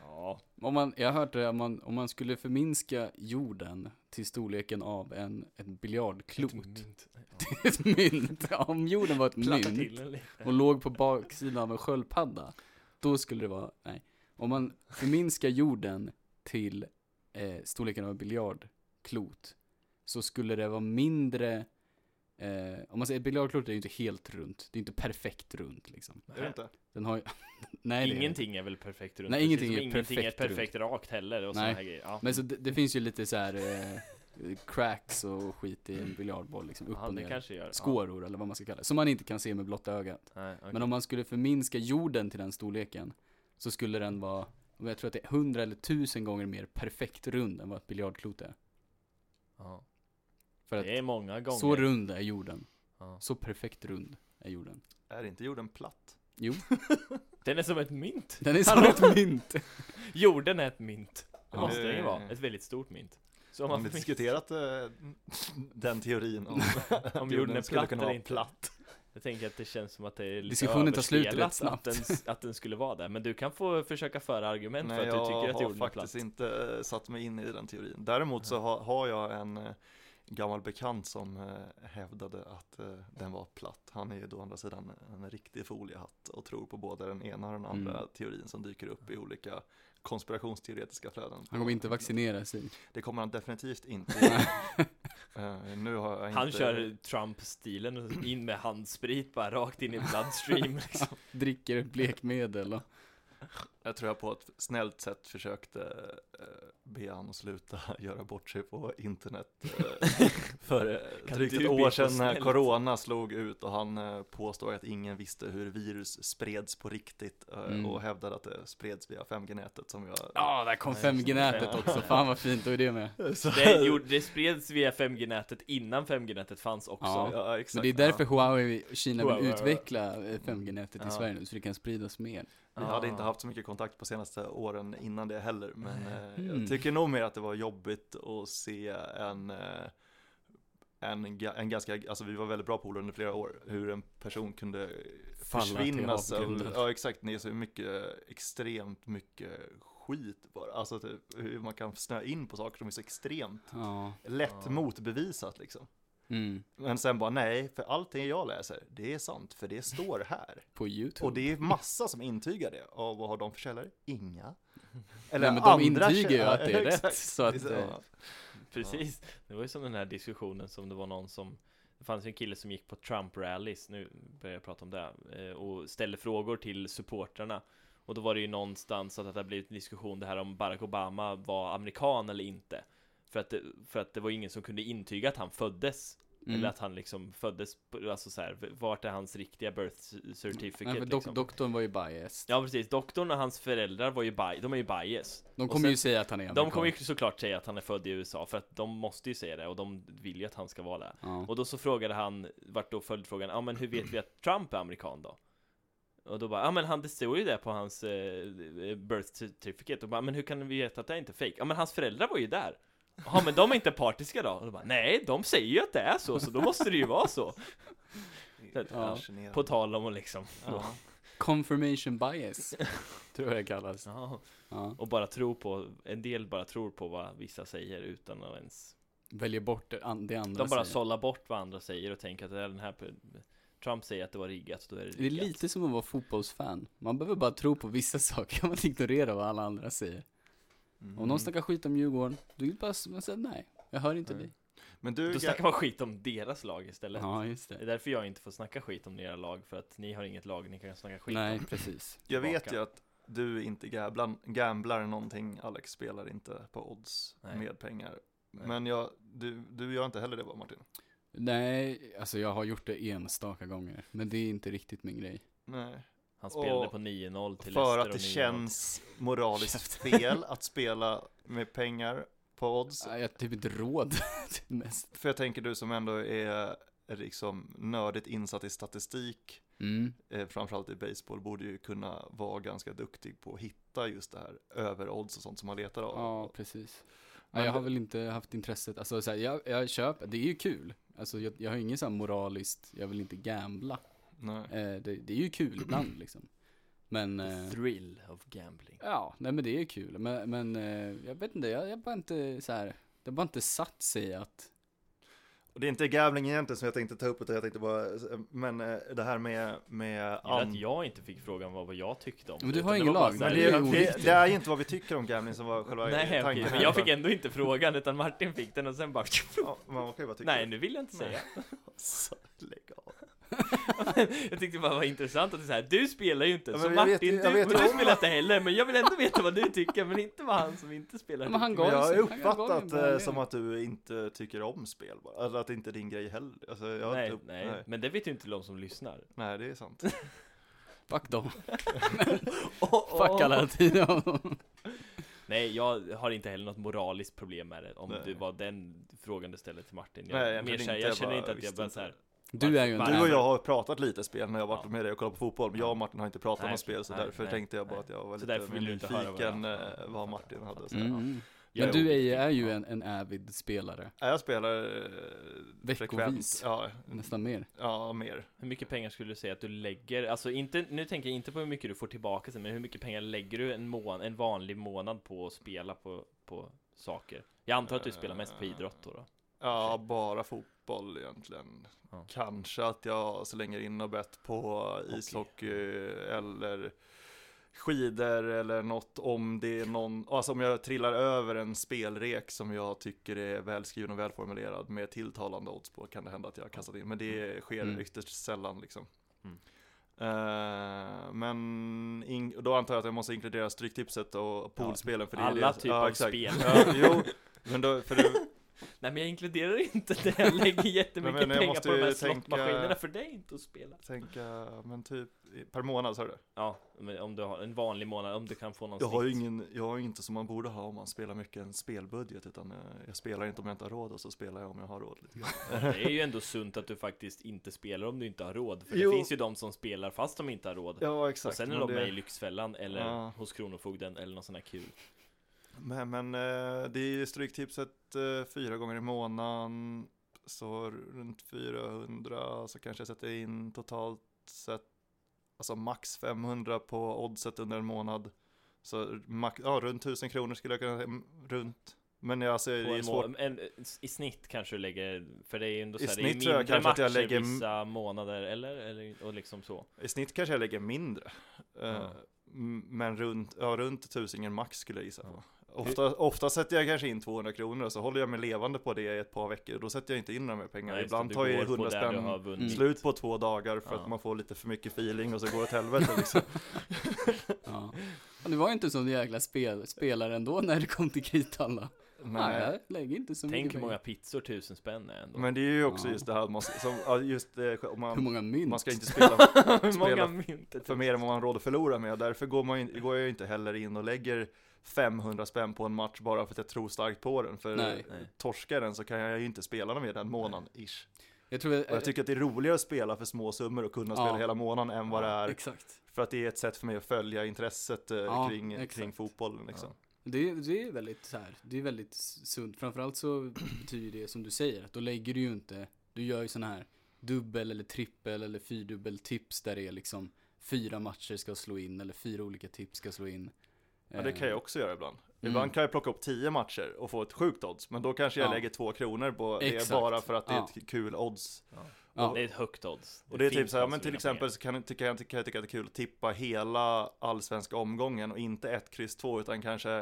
B: Ja,
A: Om man, jag har hört det, om man, om man skulle förminska jorden till storleken av en, en biljardklot.
B: ett mynt.
A: Ett mynt. Ja, om jorden var ett
B: Platta
A: mynt
B: till den lite.
A: och låg på baksidan av en sköldpadda, då skulle det vara, nej. Om man förminskar jorden till eh, storleken av en biljardklot, så skulle det vara mindre, eh, om man säger biljardklot är ju inte helt runt, det är inte perfekt runt liksom.
C: Är det inte?
A: Den har ju, nej det är det inte.
B: ingenting är väl perfekt runt?
A: Nej,
B: precis
A: ingenting
B: som
A: är
B: ingenting
A: perfekt
B: är
A: runt.
B: perfekt rakt heller och såna
A: Nej.
B: här grejer. Ja.
A: Men så det, det finns ju lite så här eh, cracks och skit i en biljardboll liksom, upp
B: ja,
A: och
B: det
A: ner.
B: kanske gör.
A: Skåror eller vad man ska kalla det, som man inte kan se med blotta ögat.
B: Ja. Nej, okej.
A: Men om man skulle förminska jorden till den storleken, så skulle den vara, och jag tror att det är hundra eller tusen gånger mer perfekt rund än vad ett biljardklot är.
B: ja.
A: För att
B: Det är många gånger.
A: så rund är jorden,
B: ja.
A: så perfekt rund är jorden.
C: Är inte jorden platt?
A: Jo,
B: Den är som ett mynt.
A: den är som
B: Hallå?
A: ett mynt.
B: Jorden är ett mynt. Det
A: Ja.
B: måste den ju
C: Eh.
B: vara. Ett väldigt stort mynt. Så om
C: Har
B: man
C: vi
B: förminskar-
C: diskuterat eh, den teorin om
B: om
C: att
B: jorden är
C: skulle
B: platt
C: kunna
B: eller
C: vara
B: inte.
C: platt?
B: Jag tänker att det känns som att det är lite
A: Diskussionen tar slut rätt
B: överspelat
A: snabbt.
B: Att den, att den skulle vara där. Men du kan få försöka föra argument
C: Nej,
B: för att du
C: jag
B: tycker att
C: har
B: jorden är
C: faktiskt
B: platt.
C: inte eh, satt mig in i den teorin. Däremot så har, har jag en eh, gammal bekant som eh, hävdade att eh, den var platt. Han är ju då å andra sidan en riktig foliehatt och tror på både den ena och den andra
A: Mm.
C: teorin som dyker upp i olika konspirationsteoretiska flöden.
A: Han kommer inte vaccinera sig.
C: Det kommer han definitivt inte. göra. Eh, nu har jag
B: Han
C: inte...
B: kör Trump-stilen, och in med handsprit bara rakt in i bloodstream liksom.
A: Dricker blekmedel och...
C: Jag tror jag på ett snällt sätt försökte eh, be han att sluta göra bort sig på internet. eh, För eh,
B: Kan
C: drygt
B: du
C: ett
B: be
C: år
B: på
C: sedan när
B: snällt?
C: corona slog ut och han eh, påstod att ingen visste hur virus spreds på riktigt eh,
A: Mm.
C: och hävdade att det spreds via 5G-nätet som jag...
A: Ja, där kom
B: Ja, just det.
A: 5G-nätet också. Fan vad fint, då är det med.
C: Så-
B: Det, gjorde, det spreds via 5G-nätet innan 5G-nätet fanns också.
A: Ja.
C: Ja, exakt.
A: Men det är därför Huawei och Kina vill
B: Huawei.
A: utveckla eh, 5G-nätet i
C: Ja.
A: Sverige nu, så det kan spridas mer.
C: Vi hade inte
B: Ah.
C: haft så mycket kontakt på senaste åren innan det heller, men eh,
A: Mm.
C: jag tycker nog mer att det var jobbigt att se en, eh, en, ga- en ganska, alltså vi var väldigt bra polare under flera år, hur en person kunde
A: Falla till
C: försvinna. Till
A: avgrunden.
C: ja exakt, det är så mycket, extremt mycket skit bara, alltså typ, hur man kan snöa in på saker som är så extremt
A: Ja.
C: lätt
A: Ah.
B: Ja.
C: motbevisat liksom.
A: Mm.
C: Men sen bara nej, för allting jag läser, det är sant, för det står här.
A: På YouTube.
C: Och det är massa som intygar det. Och vad har de för källor? Inga.
A: Nej, men de
C: källor-
A: intyger ju att det är
C: Ja,
A: rätt.
C: exakt.
A: Så att,
C: Det är så.
A: eh,
B: Precis, det var ju som den här diskussionen som det var någon som Det fanns ju en kille som gick på Trump-rallys, nu börjar jag prata om det eh, Och ställde frågor till supportrarna Och då var det ju någonstans att det hade blivit en diskussion det här om Barack Obama var amerikan eller inte För att det, för att det var ingen som kunde intyga att han föddes
A: mm.
B: Eller att han liksom föddes, på- alltså så här, vart är hans riktiga birth certificate
A: Nej, för dok-
B: liksom?
A: doktorn var ju biased.
B: Ja precis, doktorn och hans föräldrar var ju bi- de är ju bias
A: De
B: Och
A: kommer
B: sen-
A: ju säga att han är
B: de
A: amerikan.
B: kommer ju såklart säga att han är född i USA för att de måste ju säga det och de vill ju att han ska vara där.
A: Ja.
B: Och då så frågade han, vart då följdfrågan, ja men hur vet vi att Trump är amerikan då? Och då bara, ja men han, det står ju det på hans eh, birth certificate och bara, men hur kan vi veta att det är inte är fake? Ja men hans föräldrar var ju där! Ja men de är inte partiska då? Och då bara, nej de säger ju att det är så, så då måste det ju vara så!
A: Ja.
C: Fascinerande.
B: På tal om och liksom,
C: Ja.
A: Confirmation bias, tror jag det kallas.
B: ja.
A: Ja.
B: och bara tro på, en del bara tror på vad vissa säger utan att ens
A: Väljer bort det an- det andra
B: De bara
A: säger.
B: sållar bort vad andra säger och tänker att det är den här Trump säger att det var riggat, då är det riggat
A: Det är lite som att vara fotbollsfan. Man behöver bara tro på vissa saker, kan man ignorera vad alla andra säger.
C: Mm.
A: Om någon snackar skit om Djurgården, du vill bara s- man säger nej, jag hör inte
C: Nej.
A: dig.
C: Men du,
B: Då snackar man skit om deras lag istället
A: Ja, just
B: Det är
A: det.
B: därför jag inte får snacka skit om era lag, för att ni har inget lag ni kan snacka skit
A: Nej,
B: om
A: precis.
C: jag vet
B: tillbaka.
C: ju att du inte gamblar, gamblar någonting, Alex spelar inte på odds
B: Nej.
C: med pengar.
B: Nej.
C: Men jag, du, du gör inte heller det va Martin?
A: Nej, alltså jag har gjort det enstaka gånger, men det är inte riktigt min grej.
C: Nej.
B: Han spelade
C: Och-
B: på 9-0 till
C: För
B: Leicester
C: att
B: och 9-0.
C: det känns moraliskt fel att spela med pengar på odds.
A: Nej, Jag har typ inte råd till mest.
C: För jag tänker du som ändå är liksom nördigt insatt i statistik
A: Mm.
C: eh, framförallt i baseball borde ju kunna vara ganska duktig på att hitta just det här överodds och sånt som man letar av.
A: Ja, precis.
C: Men
A: Nej, jag har
C: det-
A: väl inte haft intresset, alltså så här, jag, jag köper, det är ju kul. Alltså jag, jag har ingen sån här moraliskt, jag vill inte gambla.
C: Nej.
A: Eh, det, det är ju kul ibland liksom. Men,
B: The
A: eh,
B: thrill of gambling
A: ja, nej men det är kul. Men, men eh, jag vet inte, jag, jag bara inte så här, det har bara inte satt sig att,
C: Och det är inte gambling egentligen som jag tänkte ta upp utan jag tänkte bara, men eh, det här med, med
B: Gillar
C: an-
B: att jag inte fick frågan vad, vad jag tyckte om
A: Men du
B: det,
A: har
B: utan
A: ingen
B: det var bara
A: lag,
B: så här-
A: men det är ju
C: det, det är ju inte vad vi tycker om gambling som var själva
B: Nej,
C: tanken.
B: okej, men jag fick ändå inte frågan, utan Martin fick den och sen bara
C: Ja, man kan ju bara tycka
B: Nej, nu vill jag inte säga
C: Så, lägg av.
B: Jag tyckte bara det var intressant att det är så här, du spelar ju inte,
C: Ja,
B: så
C: men jag
B: Martin,
C: vet ju- jag
B: du,
C: vet
B: men
C: ju
B: du
C: om-
B: spelar inte heller, men jag vill ändå veta vad du tycker, men inte vad han som inte spelar
A: Ja, men han
B: tycker.
A: gav
C: Men jag har
A: ju- han gav ju en
C: uppfattat
A: bra
C: eh,
A: idé.
C: som att du inte tycker om spel bara. Eller att det inte är din grej heller. Alltså, jag har
B: nej,
C: inte upp...
B: nej,
C: nej.
B: men det vet ju inte de som lyssnar
C: Nej, det är sant.
A: fuck dem,
B: oh, oh.
A: fuck alla tiden.
B: Nej, jag har inte heller något moraliskt problem med det, om
C: Nej.
B: det var den frågan du ställde till Martin
C: Nej,
B: Jag,
C: egentligen
B: mer så här,
C: inte,
B: jag
C: jag
B: känner
C: bara
B: inte att jag
C: visste
B: bara
C: inte.
B: så här,
A: Du är ju en
B: Varför-
C: Du och
A: tränare.
C: jag har pratat lite spel när jag varit
B: Ja.
C: med dig och kollat på fotboll, men jag och Martin har inte pratat
B: Nej,
C: om spel så
B: nej,
C: därför
B: nej,
C: tänkte jag bara
B: nej.
C: att jag var
B: Så
C: lite
B: därför vill du inte höra vad
C: nyfiken
B: jag-
C: eh,
B: ja,
C: vad
B: jag
C: Martin hade. Så här,
A: Mm.
C: ja.
A: Mm.
B: Jag
A: Men
B: är
A: du är,
B: oviktig.
A: ju- är ju
B: Ja.
A: en, en avid spelare,
C: Nej, Jag spelar eh, frekvent,
A: Veckovis.
C: ja,
A: nästan mer.
C: ja mer.
B: hur mycket pengar skulle du säga att du lägger, alltså inte, nu tänker jag inte på hur mycket du får tillbaka sen, men hur mycket pengar lägger du en, mån, en vanlig månad på att spela på, på saker? Jag antar att du spelar mest på idrott då, då?
C: Ja, bara fotboll egentligen.
B: Ja.
C: Kanske att jag slänger in och bett på ishockey eller skidor eller något om det är någon, alltså om jag trillar över en spelrek som jag tycker är välskriven och välformulerad med tilltalande odds på kan det hända att jag har kastat in, men det sker
A: Mm.
C: ytterst sällan liksom.
B: Mm.
C: Eh, men in, då antar jag att jag måste inkludera stryktipset och poolspelen för det är
B: alla
C: det.
B: typer av spel.
C: Ja, jo, men då, för det,
B: Nej men jag inkluderar inte det, jag lägger jättemycket
C: Men jag
B: pengar
C: måste
B: på de här
C: ju tänka-
B: slottmaskinerna för det är inte att spela
C: Tänka, men typ i- per månad sa du det?
B: Ja, men om du har en vanlig månad, om du kan få någon
C: Jag har ju
B: snitt.
C: ingen, jag har ju inte som man borde ha om man spelar mycket en spelbudget utan eh, jag spelar inte om jag inte har råd och så spelar jag om jag har råd lite grann.
B: Det är ju ändå sunt att du faktiskt inte spelar om du inte har råd För
C: Jo.
B: det finns ju de som spelar fast de inte har råd
C: Ja exakt.
B: Och sen är
C: men
B: de
C: det-
B: med i Lyxfällan eller
C: Ja.
B: hos Kronofogden eller någon sån här kul
C: Men, men eh, det är ju Stryktipset eh, fyra gånger i månaden. Så runt 400 så kanske jag sätter in totalt sett, alltså max 500 på oddset under en månad. Så max, ja, runt 1000 kronor skulle jag kunna säga, mm, runt. Men jag, alltså, det
B: På
C: är
B: en
C: svårt.
B: må- en, I snitt kanske du lägger, för det är ju ändå
C: I
B: så här, det är
C: snitt tror jag
B: mindre
C: kanske att
B: matcher
C: jag lägger-
B: vissa månader eller, eller och liksom så
C: I snitt kanske jag lägger mindre. Eh,
B: Ja.
C: m- Men runt, ja, runt tusingen max skulle jag gissa på.
B: Ja.
C: Ofta, ofta sätter jag kanske in 200 kronor och så håller jag mig levande på det i ett par veckor. Då sätter jag inte in några mer pengar.
B: Nej, just det,
C: Ibland
B: du
C: tar jag
B: går på
C: 100
B: där du har
C: spänn
A: Mm.
B: vunnit.
C: slut på två dagar för
B: Ja.
C: att man får lite för mycket feeling och så går det åt helvete liksom.
A: Ja. Men du var ju inte sån jäkla spel, spelare ändå när det kom till kritan då. Nej,
C: Nej.
A: jag lägger inte så
B: Tänk
A: mycket
B: hur många
A: pengar.
B: pizzor tusen spänn är ändå
C: Men det är ju också
A: Ja.
C: just det här, att man, som, ja, just det, om
A: Hur
C: man,
A: många mynt?
C: man ska inte spela
B: Hur många
C: spela
B: mynt är
C: för
B: tusen?
C: mer än vad man har råd att förlora med. Därför går, man, in- går jag ju inte heller in och lägger 500 spänn på en match bara för att jag tror starkt på den. För
A: Nej.
B: Nej.
C: torskar den så kan jag ju inte spela den mer den månaden, ish.
A: Jag tror jag,
C: Och jag tycker att det är roligare att spela för små summor och kunna
A: Ja.
C: spela hela månaden än vad det är.
A: Exakt.
C: För att det är ett sätt för mig att följa intresset eh,
A: Ja,
C: kring,
A: exakt.
C: kring fotbollen liksom.
A: Det, är- det är väldigt så här, det är väldigt sunt. Framförallt så betyder det som du säger, att då lägger du ju inte, du gör ju sådana här dubbel eller trippel eller fyrdubbel tips där det är liksom fyra matcher ska slå in eller fyra olika tips ska slå in.
C: Ja, det
A: Eh,
C: kan jag också göra ibland.
A: Mm.
C: Ibland kan jag plocka upp 10 matcher och få ett sjukt odds, men då kanske jag
A: Ja.
C: lägger två kronor på det
A: Exakt.
C: bara för att det är
A: Ja.
C: ett kul odds.
A: Ja.
B: Det är ett högt odds
C: Och det är typ
B: finns
C: så här,
B: de
C: men
B: som
C: till
B: vill ha
C: exempel så kan, jag tycka- jag tycka- jag tycka att det är kul att tippa hela allsvenska omgången och inte ett kryss två utan kanske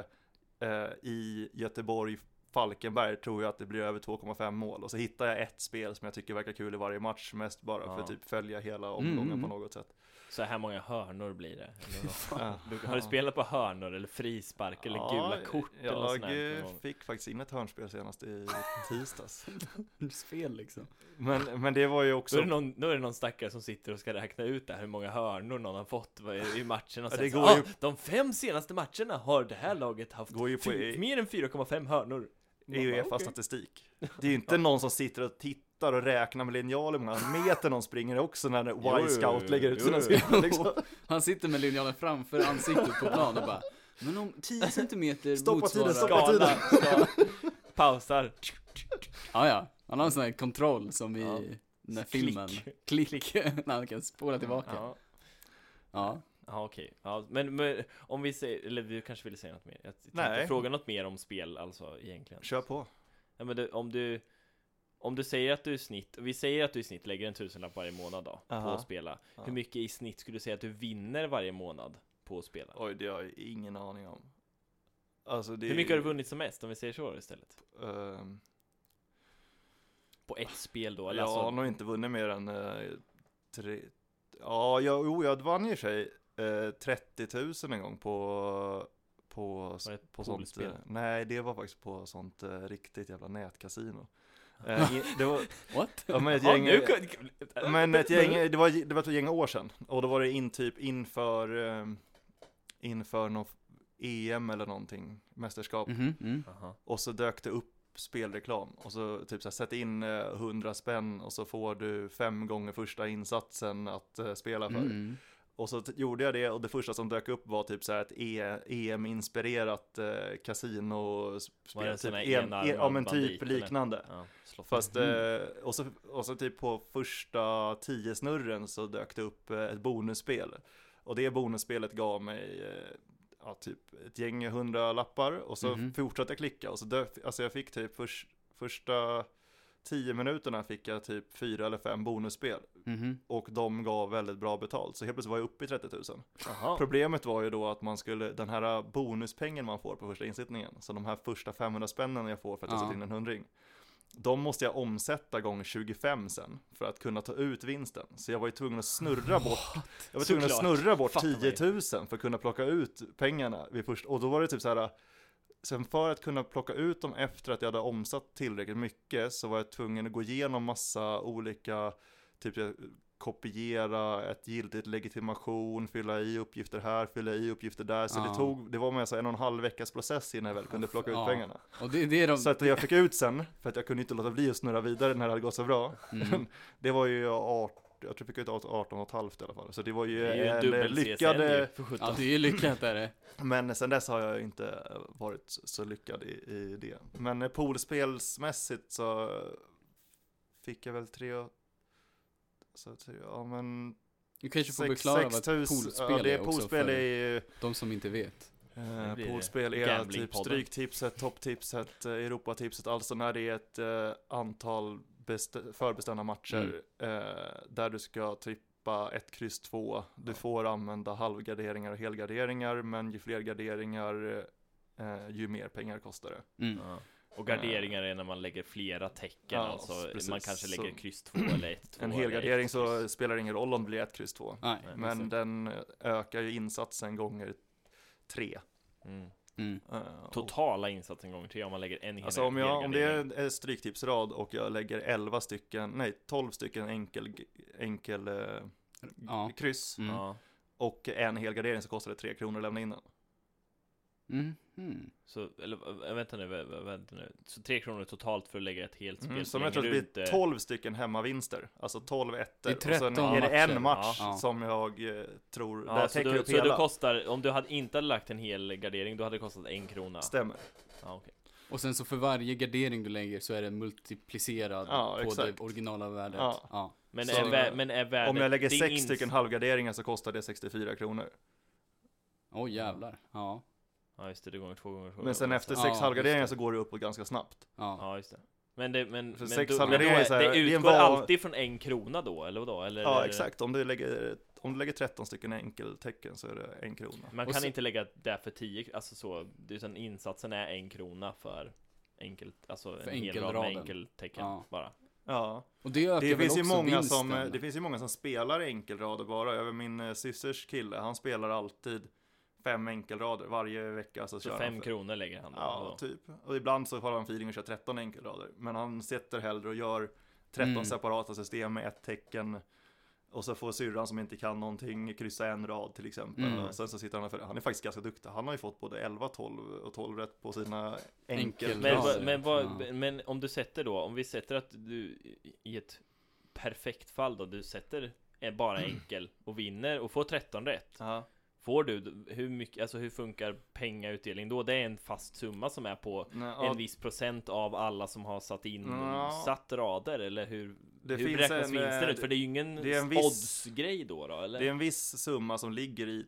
C: eh, i Göteborg, Falkenberg tror jag att det blir över 2,5 mål och så hittar jag ett spel som jag tycker verkar kul i varje match mest bara för
B: Ja.
C: att typ följa hela omgången
A: Mm.
C: på något sätt.
B: Så här många hörnor blir det. Eller vad?
C: Ja.
B: Du, har du spelat på hörnor eller frispark eller gula kort
C: jag
B: eller något sånt här
C: eh,
B: någon gång?
C: fick faktiskt in ett hörnspel senast i tisdags.
A: Spel liksom.
C: Men, men det var ju
B: Då är,
C: också
B: det någon, då är det någon stackare som sitter och ska räkna ut det här, hur många hörnor någon har fått vad- i matcherna.
C: Ja,
B: Ja,
C: det går
B: ah,
C: ju-
B: De fem senaste matcherna har det här laget haft
C: Går ju på
B: fy-
C: i-
B: mer än 4,5 hörnor.
C: Uefa-statistik. Det är ju inte någon som sitter och tittar och räknar med linjal hur många meter någon springer också när
B: jo, jo,
C: Y-scout lägger ut
B: jo,
C: sina
B: jo.
C: siffror liksom.
A: Han sitter med linjalen framför ansiktet på plan och bara Men om 10 centimeter
C: Stoppa tiden,
A: motsvarar...
C: stoppa- Vad betyder
B: Skala, ska, pausar.
A: Ja, ja. Han har en sån här kontroll som i
B: Ja.
A: den där
B: Klick.
A: filmen. Klick. när han kan spola tillbaka. Ja.
B: Ja, ja okej. Ja, men, men om vi säger, eller du kanske ville säga något mer? Jag tänkte
C: Nej.
B: fråga något mer om spel alltså egentligen.
C: Kör på.
B: Ja, men du, om du Om du säger att du i snitt, vi säger att du i snitt lägger en tusenlapp varje månad då På
C: Aha.
B: att spela
C: Ja.
B: Hur mycket i snitt skulle du säga att du vinner varje månad på att spela?
C: Oj, det har jag ingen aning om. Alltså det
B: Hur mycket har du vunnit som mest om vi säger så istället?
C: Ehm,
B: På ett spel då? Eller
C: jag har
B: alltså,
C: nog inte vunnit mer än eh, tre... Ja, jag, jo, jag vann ju i och för sig eh, 30 000 en gång på... På,
B: Var det ett
C: på sånt...
B: poolspel?
C: eh, Nej, det var faktiskt på sånt eh, riktigt jävla nätkasino. Eh, i- det var,
A: What?
C: ja, men ett
B: Ja,
C: gäng,
B: nu kan-
C: Men ett gäng, det var, det var ett gäng år sedan och då var det in typ inför eh, inför någon EM eller någonting, mästerskap.
A: Mhm, mm.
B: Aha.
C: Och så dök det upp spelreklam och så typ så här, sätt in eh, 100 spänn och så får du fem gånger första insatsen att eh, spela för.
A: Mm.
C: Och så t- gjorde jag det och det första som dök upp var typ så här ett e- EM-inspirerat eh,
B: Var det
C: kasinospel.
B: en sån
C: Typ,
B: här
C: EM, e- ja men
B: enarmad
C: typ
B: bandit, eller?
C: liknande.
B: Ja, slå fast
C: Fast, eh, och, så, och så typ på första tio snurren så dök det upp eh, ett bonusspel. Och det bonusspelet gav mig eh, ja, typ ett gäng hundra lappar och så
A: Mhm.
C: fortsatte jag klicka och så dök, alltså jag fick typ förs- första tio minuterna fick jag typ fyra eller fem bonusspel.
A: Mhm.
C: Och de gav väldigt bra betalt, så helt plötsligt var jag uppe i 30 000.
B: Jaha.
C: Problemet var ju då att man skulle, den här bonuspengen man får på första insittningen, så de här första 500 spännen jag får för att jag
A: Ja.
C: sätter in en hundring, de måste jag omsätta gånger 25 sen för att kunna ta ut vinsten. Så jag var ju tvungen att snurra bort, jag var tvungen att
B: Såklart.
C: snurra bort
B: Fattar
C: 10 000 för att kunna plocka ut pengarna vid först, och då var det typ så här, sen för att kunna plocka ut dem efter att jag hade omsatt tillräckligt mycket så var jag tvungen att gå igenom massa olika, typ jag kopiera ett giltigt legitimation, fylla i uppgifter här, fylla i uppgifter där. Så det
A: Ja.
C: tog, det var med så en och en halv veckas process innan jag väl kunde plocka ut
A: Ja.
C: pengarna.
A: Och det, det är de...
C: Så att jag fick ut sen, för att jag kunde inte låta bli att snurra vidare när det hade gått så bra.
A: Mm.
C: Det var ju art, jag tror jag fick ut 18 och ett halvt i alla fall. Så det var ju,
B: Det är ju en
C: en
B: dubbel
C: lyckad,
B: lyckad...
C: eh,
B: CSN ju, för sjutton.
A: Ja, det är ju lyckat är det.
C: men sen dess har jag inte varit så lyckad i, i det. Men eh, poolspelsmässigt så fick jag väl tre, så tre, ja men
A: Du kanske får
C: Sex-
A: förklara vad
C: 6000
A: ett poolspel
C: ja, det är
A: är också
C: poolspel
A: för
C: är ju,
A: de som inte vet.
C: eh,
B: blir det.
C: poolspel är typ
B: Gamblingpodden.
C: stryktipset, topptipset, eh, Europatipset, alltså när det är ett eh, antal best- förbestämda matcher
A: Mm.
C: eh, där du ska trippa ett kryss två. Du får använda halvgarderingar och helgarderingar, men ju fler garderingar eh, ju mer pengar kostar det.
A: Mm.
B: Ja. Och garderingar är när man lägger flera tecken,
C: Ja,
B: alltså
C: precis.
B: man kanske lägger
C: Så-
B: kryss 2 eller 1 2
C: En helgardering så spelar det ingen roll om det blir ett kryss två,
A: Nej, alltså.
B: Nej,
C: men
A: just det.
C: den eh, ökar ju insatsen gånger tre.
B: mm.
A: Mm.
C: Eh, och-
B: Totala insatsen gånger 3 om man lägger en hel
C: Alltså om, jag, om det
B: helgardering.
C: är en stryktipsrad och jag lägger 11 stycken, nej 12 stycken enkel, enkel eh,
A: Ja.
C: kryss
A: Mm.
B: ja.
C: och en helgardering så kostar det 3 kronor att lämna in den.
A: Mm. Mm.
B: Så, eller äh, vänta nu, vä- vä- vänta nu. Så 3 kronor totalt för att lägga ett helt spel.
C: Mm,
B: så
C: som
B: länge
C: jag tror att
B: du
C: det blir
B: inte-
C: 12 stycken hemmavinster, alltså 12 ettor.
A: Det är 13
C: och sen är det en
A: matcher.
C: match
A: Ja.
C: som jag eh, tror, där
B: Ja, så
C: täcker
B: du,
C: upp
B: så
C: hela.
B: du kostar, om du hade inte hade lagt en hel gardering, då hade det kostat en krona.
C: Stämmer.
B: Ja, okej.
A: Och sen så för varje gardering du lägger så är den multiplicerad
C: Ja,
A: på
C: exakt.
A: det originala värdet.
C: Ja.
A: Ja.
B: Men,
C: Så-
B: är vä- men är värdet...
C: Om jag lägger
B: din
C: 6
B: ins-
C: stycken halvgarderingar så kostar det 64 kronor.
A: Oj jävlar. Ja.
B: Ja just det, det gånger två gånger två.
C: Men sen
B: gånger.
C: efter
A: Ja,
C: 6
A: just
C: halvgarderingar
A: det.
C: så går det uppåt ganska snabbt.
A: Ja.
B: Ja just det. Men det, men,
C: För
B: men,
C: sex
B: då, men då,
C: halvgarderingar är så här,
B: det
C: det är en
B: utgår
C: van-
B: alltid från en krona då, eller vadå? Eller,
C: Ja, exakt. Om du lägger, om du lägger 13 stycken enkeltecken så är det en krona.
B: Man
A: Och
B: kan
A: så-
B: inte lägga det för 10, alltså så, utan insatsen är en krona för enkelt, alltså
A: För
B: en hel rad med
A: enkelraden.
B: enkeltecken
A: Ja.
B: bara.
C: Ja.
A: Och det ökar
C: Det
A: väl
C: finns,
A: också
C: ju många
A: vinsten?
C: som, eh, det finns ju många som spelar enkelrader bara. Över min eh, systers kille, han spelar alltid fem enkelrader varje vecka. Så,
B: Så
C: kör
B: fem
C: han för-
B: kronor lägger han då.
C: Ja, typ. Och ibland så har han feeling och kör 13 enkelrader. Men han sitter hellre och gör 13
A: Mm.
C: separata system med ett tecken. Och så får syrran som inte kan någonting kryssa en rad till exempel.
A: Mm.
C: Och sen så sitter han för Han är faktiskt ganska duktig. Han har ju fått både 11, 12 och 12 rätt på sina
A: Enkel-
C: enkelrader.
B: Men,
A: Ja,
B: vad-
A: det-
B: men, vad-
A: ja.
B: men om du sätter då, om vi sätter att du i- i ett perfekt fall då, du sätter eh, bara enkel och vinner och får 13 rätt.
C: Ja.
B: Får du, d- hur mycket, alltså hur funkar pengautdelning då? Det är en fast summa som är på
C: Nej, ja,
B: en viss procent av alla som har satt in
C: Ja.
B: satt rader eller hur?
C: det
B: hur
C: finns
B: räknas
C: en,
B: vinsten
C: eh,
B: ut? För det är ju ingen
C: det är en viss-
B: oddsgrej då, då eller?
C: Det är en viss summa som ligger i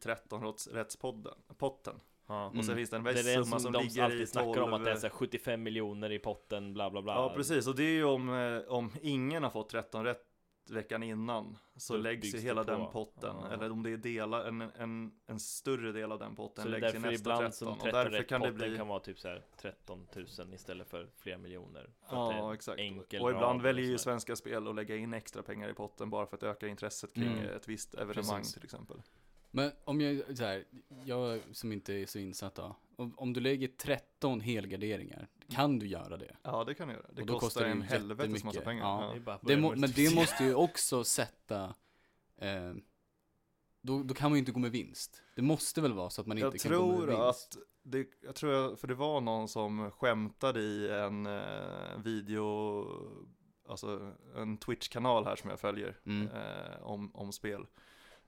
C: 13-rättspodden, potten.
B: ja.
C: Och sen
A: Mm.
C: finns det en
B: Det
C: viss
B: är den
C: summa
B: som,
C: som
B: de
C: ligger i
B: alltid
C: 12.
B: snackar om att det är så här 75 miljoner i potten, bla bla bla.
C: ja, precis. Och det är ju om, eh, om ingen har fått 13 rätt veckan innan så
B: Då
C: läggs ju
B: byggs
C: hela
B: det på.
C: den potten.
B: Ja.
C: Eller om det är delar, en, en, en större del av den potten
B: Så det är
C: läggs i
B: därför
C: nästa
B: ibland
C: 13.
B: som
C: och
B: 13
C: därför
B: rätt
C: kan det
B: potten
C: bli...
B: kan vara typ så här 13 000 istället för flera miljoner. För att det är
C: Ja,
B: en
C: exakt.
B: enkel
C: Och
B: rad
C: ibland
B: eller
C: väljer ju
B: sådär.
C: Svenska Spel att lägga in extra pengar i potten bara för att öka intresset kring
A: Mm.
C: eh, ett visst evenemang
A: Precis.
C: till exempel.
A: Men om jag, så här, jag som inte är så insatt då. Om, om du lägger 13 helgarderingar, kan du göra det?
C: Ja, det kan du göra. Det
A: Och då
C: kostar
A: kostar det
C: en
A: ju
C: helvetes massa
A: jättemycket.
C: pengar.
A: Ja.
B: är bara att
A: det
B: börja typ
A: må, men det
B: multiplicera.
A: måste ju också sätta, eh, då, då kan man ju inte gå med vinst. Det måste väl vara så att man
C: jag
A: inte kan gå med
C: tror
A: vinst?
C: att det, jag tror jag, för det var någon som skämtade i en eh, video, alltså en Twitch-kanal här som jag följer
A: Mm.
C: eh, om, om spel.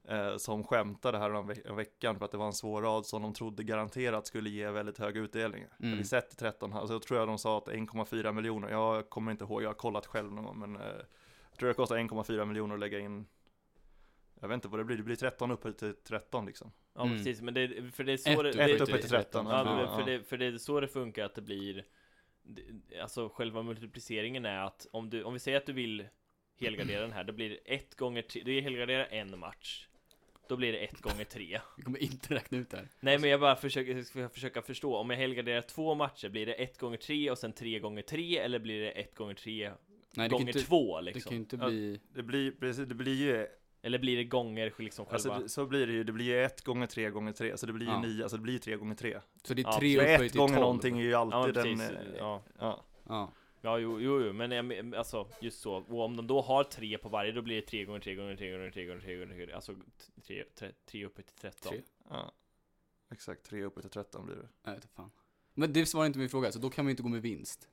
C: Eh, som skämtade här om ve- om veckan för att det var en svår rad som de trodde garanterat skulle ge väldigt hög utdelning.
A: Mm.
C: Vi sett 13, alltså jag tror jag de sa att 1,4 miljoner, jag kommer inte ihåg, jag har kollat själv någon gång, men eh, jag tror det kostar 1,4 miljoner att lägga in, jag vet inte vad det blir, det blir 13 uppe till 13 liksom.
B: Ja
A: Mm.
B: precis, men det, för det är så
A: Ett
B: det,
A: upp
B: det,
A: till
C: Ett uppe till 13.
B: Ja,
C: Ja,
B: men
C: ja.
B: För, det, för det är så det funkar att det blir det- alltså själva multipliceringen är att om, du, om vi säger att du vill helgardera den här, då blir det 1 gånger 3, du helgarderar en match. Då blir det 1 gånger 3.
A: Vi kommer inte räkna ut det här.
B: Nej men jag bara försöker, jag ska försöka förstå, om jag helgarderar två matcher, blir det 1 gånger 3 och sen 3 gånger 3 eller blir det 1 gånger 3
A: Nej, det kan ju
B: gånger
A: inte,
B: 2
A: det
B: liksom?
A: kan ju inte
C: Ja.
A: bli...
C: Det blir, precis, det blir ju,
B: Eller blir det gånger liksom
C: alltså,
B: själva?
C: det- så blir det ju, det blir ju 1 gånger 3 gånger 3, så det blir ju
A: Ja.
C: 9, alltså det blir ju 3 gånger 3.
A: Så det är
B: Ja,
A: tre
C: Så
A: upphöjt
C: 1
A: till 12.
C: gånger någonting är ju
B: ja men
C: alltid en...
B: precis,
C: eh,
B: ja.
C: Ja.
A: Ja.
B: Ja, jo, jo, jo, men jag men- alltså just så. Och om de då har tre på varje, då blir det tre gånger tre gånger tre gånger tre gånger tre gånger tre, alltså t- tre, tre, tre uppe till tretton.
A: Tre.
C: ja. Exakt, 3 uppe till 13 blir det.
A: Nej, inte fan. Men det svarar inte min fråga, så då kan man ju inte gå med vinst.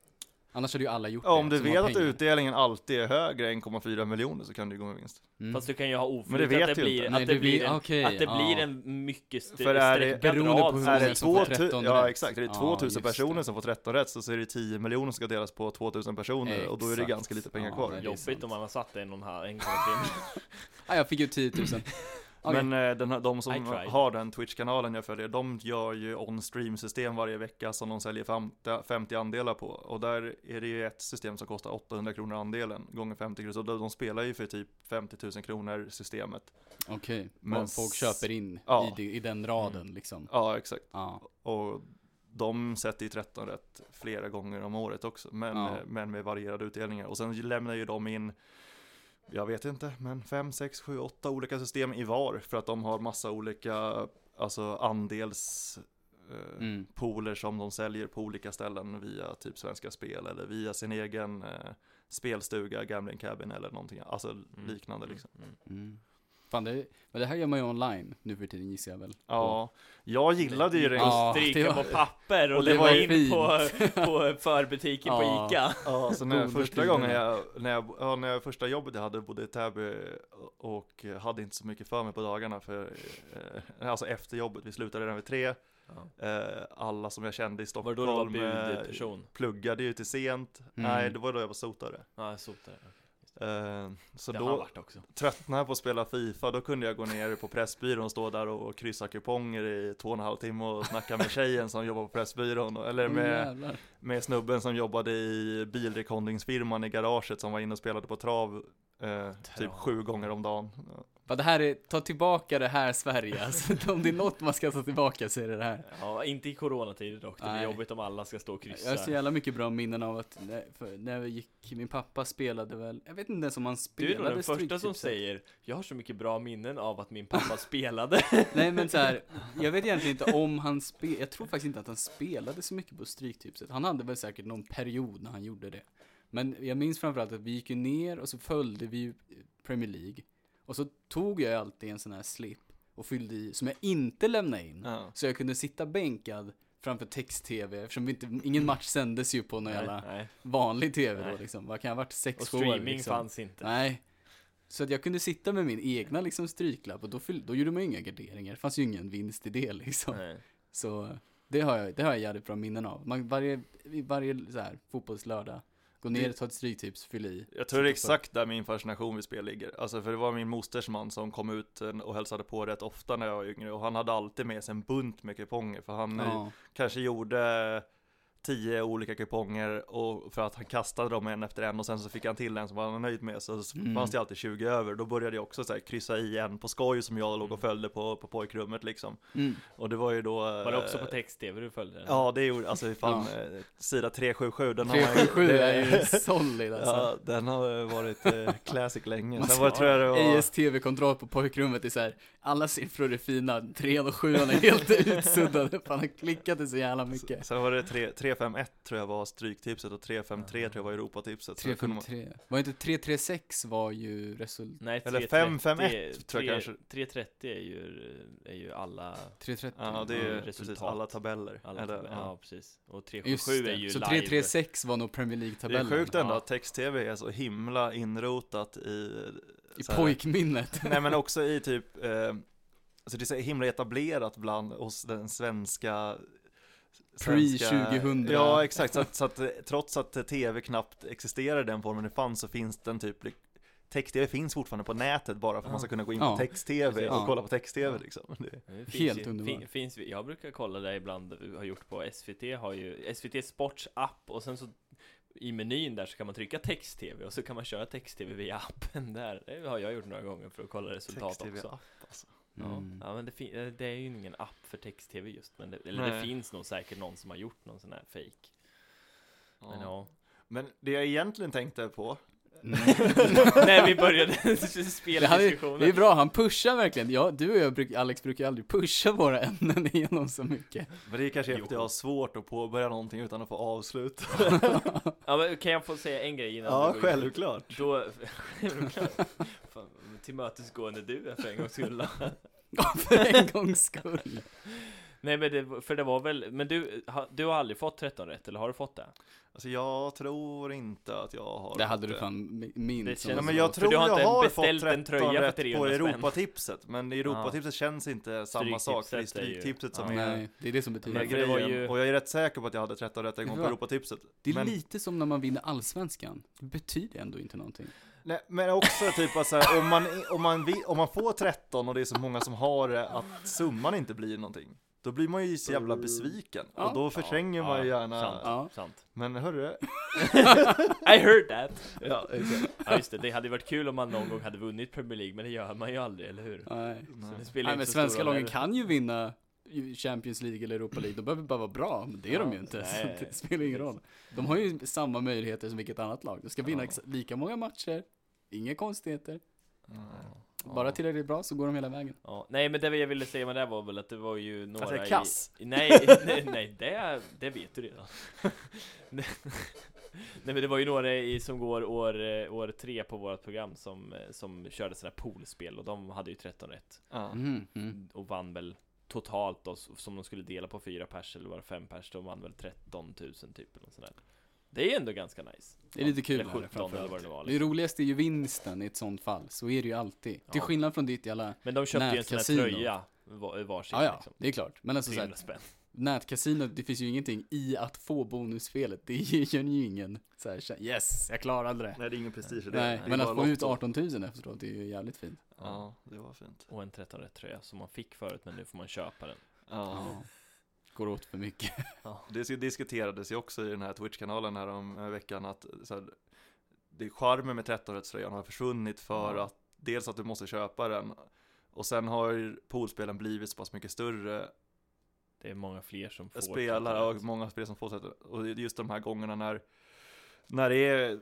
A: Annars hade ju alla gjort
C: Ja, om
A: det.
C: du
A: som har
C: vet att
A: pengar.
C: utdelningen alltid är högre än 1,4 miljoner så kan du ju gå med vinst.
A: Mm.
B: Fast du kan ju ha
C: Men det
B: oflyt
C: vet
B: att det
C: ju
B: blir,
C: inte.
B: att
A: Nej,
B: det blir en,
A: okej,
B: att det
A: ja.
B: blir en mycket st-
C: För är det-
B: sträckad
A: beroende på
B: rad.
A: hur
C: Är
A: många
C: det
A: som får
C: 2
A: 13
C: 000, ja
A: rätt?
C: exakt, är det
A: Ja,
C: 2000
A: just
C: personer
A: det.
C: som får 13 rätt så så är det 10 miljoner som ska delas på 2000 personer och då är det
A: Exakt.
C: ganska lite pengar
A: Ja,
C: kvar.
A: det är sant.
B: Jobbigt om man har satt en och en halv, en gång till.
A: Ah, jag fick ju 10 000. Okej.
C: Men eh, den, här- de
B: I
C: som
B: tried.
C: har den Twitch-kanalen jag följer, de gör ju on-stream system varje vecka som de säljer 50, 50 andelar på. Och där är det ju ett system som kostar 800 kronor andelen gånger 50 kronor. Så de, de spelar ju för typ 50 000 kronor systemet.
A: Okej,
C: Men
A: men folk
C: s-
A: köper in
C: ja.
A: i, de- i den raden
B: Mm.
A: liksom.
C: Ja, exakt.
A: Ja.
C: Och de sätter ju 13 rätt flera gånger om året också, men,
A: Ja.
C: eh, men med varierade utdelningar. Och sen lämnar ju de in, jag vet inte, men 5, 6, 7, 8 olika system i var för att de har massa olika alltså andels eh,
A: Mm.
C: pooler som de säljer på olika ställen via typ Svenska Spel eller via sin egen eh, spelstuga, Gambling Cabin eller någonting, alltså liknande liksom.
B: Mm.
A: Mm. Fan, det, men det här gör man ju online nu för tiden gissar jag väl.
C: Ja, jag gillade
B: Mm.
C: ju det.
A: Ja, det
B: Stryka
A: var-
B: på papper och,
C: och det
B: lämna
C: var
A: ju
B: in
A: fint.
B: på, på förbutiken på
A: Ja.
B: Ica.
C: Ja, så när
A: Goda
C: första
A: tiderna.
C: gången jag, när jag, ja, när jag första jobbet jag hade bodde i Täby och hade inte så mycket för mig på dagarna för, eh, alltså efter jobbet, vi slutade redan vid tre, eh, alla som jag kände i
B: Var
C: Stockholm
B: det då du var
C: eh,
B: budperson?
C: pluggade ju till sent,
A: Mm.
C: nej det var då jag var sotare.
B: Ja, jag sotade.
C: Eh, så
B: Det har han
C: då
B: varit också.
C: tröttnade jag på att spela Fifa, då kunde jag gå ner på Pressbyrån och stå där och kryssa kuponger i två och en halv timme och snacka med tjejen som jobbar på Pressbyrån, och- eller
A: Åh,
B: Mm,
C: med
A: jävlar.
C: med snubben som jobbade i bilrekondingsfirman i garaget som var inne och spelade på trav eh, typ sju gånger om dagen.
A: Fan, det här är, ta tillbaka det här Sverige. Alltså, om det är något man ska ta tillbaka så är det det här.
B: Ja, inte i coronatider dock. Det blir
A: Nej.
B: jobbigt om alla ska stå och
A: Jag har så
B: kryssa.
A: jävla mycket bra minnen av att när, för när jag gick, min pappa spelade väl, jag vet inte ens om han
B: Du
A: spelade typ
B: är nog den första
A: Stryktips.
B: som säger Jag har så mycket bra minnen av att min pappa spelade
A: Nej men så här, jag vet egentligen inte om han spelade, jag tror faktiskt inte att han spelade så mycket på Stryktipset. Han hade väl säkert någon period när han gjorde det. Men jag minns framförallt att vi gick ju ner och så följde vi ju Premier League. Och så tog jag alltid en sån här slip och fyllde i, som jag inte lämnade in.
C: Ja.
A: Så jag kunde sitta bänkad framför text-tv eftersom vi inte, ingen match sändes ju på någon jävla
B: Nej.
A: vanlig tv då
B: Nej.
A: liksom. Vad kan jag ha varit? Sex
B: Och
A: år
B: streaming
A: liksom.
B: fanns inte
A: Nej. Så att jag kunde sitta med min egna liksom stryklapp och då, fyll, då gjorde man ju inga garderingar. Det fanns ju ingen vinst i det liksom.
B: Nej.
A: Så det har jag, det har jag jävligt bra minnen av. Man, varje, i varje så här, fotbollslördag, gå ner, ta ett stryktips, fyll i.
C: Jag tror det är exakt där min fascination vid spel ligger. Alltså för det var min mosters man som kom ut eh, och hälsade på rätt ofta när jag var yngre och han hade alltid med sig en bunt med kuponger för han eh,
A: Ja,
C: kanske gjorde tio olika kuponger och för att han kastade dem en efter en och sen så fick han till en som han var nöjd med så så
A: Mm.
C: fanns det alltid 20 över. Då började jag också så här kryssa i en på skoj som jag låg och följde på, på pojkrummet liksom.
A: mm.
C: Och det var ju då... eh,
B: Var det också på text-tv du följde den?
C: Ja, det gjorde, alltså fan, eh, sida 377, den har man ju-
A: 377
C: det-
A: är ju solid alltså.
C: Ja, den har eh, varit eh, classic länge.
A: Man
C: Sen var det,
B: ska-
C: tror jag det var...
A: ISTV-kontroll på pojkrummet är så här, alla siffror är fina, 3 och 7 är helt utsuddade, fan han klickade så jävla mycket.
C: Sen var det tre- 351 tror jag var stryktipset och 353 tror jag var Europatipset. Så det kunde man-
A: 353, var inte 336 var ju result...
B: Nej,
C: Eller
B: 330
C: 551 tror
B: tre-
C: jag kanske.
B: 330 är ju, är ju alla,
A: 330?
C: Ja, det är
B: Mm,
C: ju precis
B: resultat.
C: alla tabeller.
B: alla
C: Eller,
B: tab- ja.
C: ja.
B: precis Och 377
A: Just
B: är
A: det.
B: ju
A: Så
B: live
A: 336 var nog Premier
C: Det är
A: League-tabellen.
C: sjukt ändå
B: Ja.
C: att text-tv är så himla inrotat i...
A: I
C: så här-
A: pojkminnet.
C: Nej men också i typ, eh, alltså det är så himla etablerat bland oss den svenska
A: Pre-
C: svenska-
A: 2000.
C: Ja exakt, så att, så att eh, trots att eh, tv knappt existerar i den formen det fanns så finns den typ li- Text-tv finns fortfarande på nätet bara för att man ska kunna gå in på
A: Ja.
C: text-tv och
A: Ja.
C: kolla på text-tv liksom. Det,
B: Det
A: Helt
B: ju-
A: underbart.
B: fin- finns, jag brukar kolla det ibland, har gjort på SVT, har ju SVT Sports app och sen så i menyn där så kan man trycka text-tv och så kan man köra text-tv via appen där. Det har jag gjort några gånger för att kolla resultat
C: text-tv,
B: också.
C: app, alltså.
B: Ja.
A: Mm.
B: ja, men det, fin- eh, det är ju ingen app för text-tv just, men det, eller det
C: Nej.
B: finns nog säkert någon som har gjort någon sån här fake. Men
C: Ja.
B: ja.
C: Men det jag egentligen tänkte på,
B: När vi började
A: Mm. Det, här är, det är
B: speldiskussionen.
A: bra, han pushar verkligen. Ja, du och jag, bruk, Alex brukar ju aldrig pusha våra ämnen igenom så mycket.
C: men det är kanske är för att
B: Jo.
C: jag har svårt att påbörja någonting utan att få avslut.
B: Ja, men kan jag få säga en grej innan du
C: Ja,
B: går in?
C: självklart.
B: Då, självklart. Fan, tillmötesgående du är för en gångs skull.
A: Ja, för en gångs skull.
B: Nej men det, för det var väl, men du, ha, du har aldrig fått 13 rätt, eller har du fått det?
C: Alltså jag tror inte att jag har...
A: Det hade du
C: det.
A: fan mi- minst. som
B: Det känns
C: Nej,
A: en
C: men
A: sån-
C: jag
B: För
C: tror
B: du har
C: jag
B: inte
C: har
B: beställt
C: fått
B: en
C: 13
B: tröja för
C: rätt på
B: 300 spänn.
C: Europatipset, men Europatipset känns inte samma sak, för det är Stryktipset som
B: Ja.
C: är...
A: Nej, det är det som
C: som
A: betyder.
C: är
B: Men för det
C: grejen,
B: var ju-
C: och jag är rätt säker på att jag hade 13 rätt en gång på
A: Ja.
C: Europatipset.
A: det är
C: men-
A: lite som när man vinner allsvenskan. Det betyder ändå inte någonting.
C: Nej, men också typ att så här, om, man, om, man, vi- om man får 13 och det är så många som har det, att summan inte blir någonting. Då blir man ju så jävla besviken,
A: Ja.
C: och då förtränger man ju gärna...
B: Sant,
A: Ja.
B: sant.
C: Men hörru,
B: I heard that!
C: ja, exakt.
B: Ja just det, det hade varit kul om man någon gång hade vunnit Premier League, men det gör man ju aldrig, eller hur?
A: Nej.
B: Så det
C: Nej.
B: spelar
A: Nej,
B: inte
A: men
B: så
A: svenska
B: stor roll
A: lagen
B: heller.
A: kan ju vinna ju Champions League eller Europa League. De behöver bara vara bra, men det är de ju inte. Så
B: nej.
A: det spelar ingen roll. De har ju samma möjligheter som vilket annat lag. De ska vinna
C: Ja.
A: ex- lika många matcher, inga konstigheter.
C: Ja.
A: Bara tillräckligt bra så går de hela vägen.
B: Ja, nej men det jag ville säga med det var väl att det var ju några
C: Att jag är Alltså, kass.
B: I, nej, nej, nej det, det vet du redan Nej men det var ju några i, som går år, eh, år tre på vårt program som, eh, som körde sådana här poolspel och de hade ju 13 rätt
C: Ja.
A: Mm. Mm.
B: och vann väl totalt då, s- som de skulle dela på fyra pers eller var det fem pers, de vann väl 13 000 typ eller något sånt där. Det är ändå ganska nice.
A: Det är lite kul
B: Eller
A: det här,
B: 17 eller vad det nu var. liksom.
A: Det roligaste är ju vinsten i ett sånt fall, så är det ju alltid. Till
B: Ja.
A: skillnad från ditt jävla...
B: Men de köpte ju en sån här
A: Nätkasino.
B: tröja var, varsin
A: Ja, ja,
B: liksom.
A: det är klart. Men alltså såhär,
B: 300 spänn.
A: nätkasino, det finns ju ingenting i att få bonusspelet. Det ger ju ingen såhär, kä- yes, jag klarade det.
C: Nej, det är ingen prestige i det.
A: Nej,
C: Det är
A: men
C: bara
A: att få ut
C: lotto.
A: 18 000 efteråt, det är ju jävligt fint.
C: Ja, det var fint.
B: Och en 13 rätt tröja som man fick förut men nu får man köpa den.
C: Ja.
A: Går åt för mycket.
C: Det sk- diskuterades ju också i den här Twitch-kanalen här om eh, veckan att eh, så här, det charmen med 13-rättströjan har försvunnit för
B: Ja.
C: att dels att du måste köpa den och sen har ju poolspelen blivit så pass mycket större eh,
B: Det är många fler som får
C: spelare och många spelare som får sätta och just de här gångerna när när det är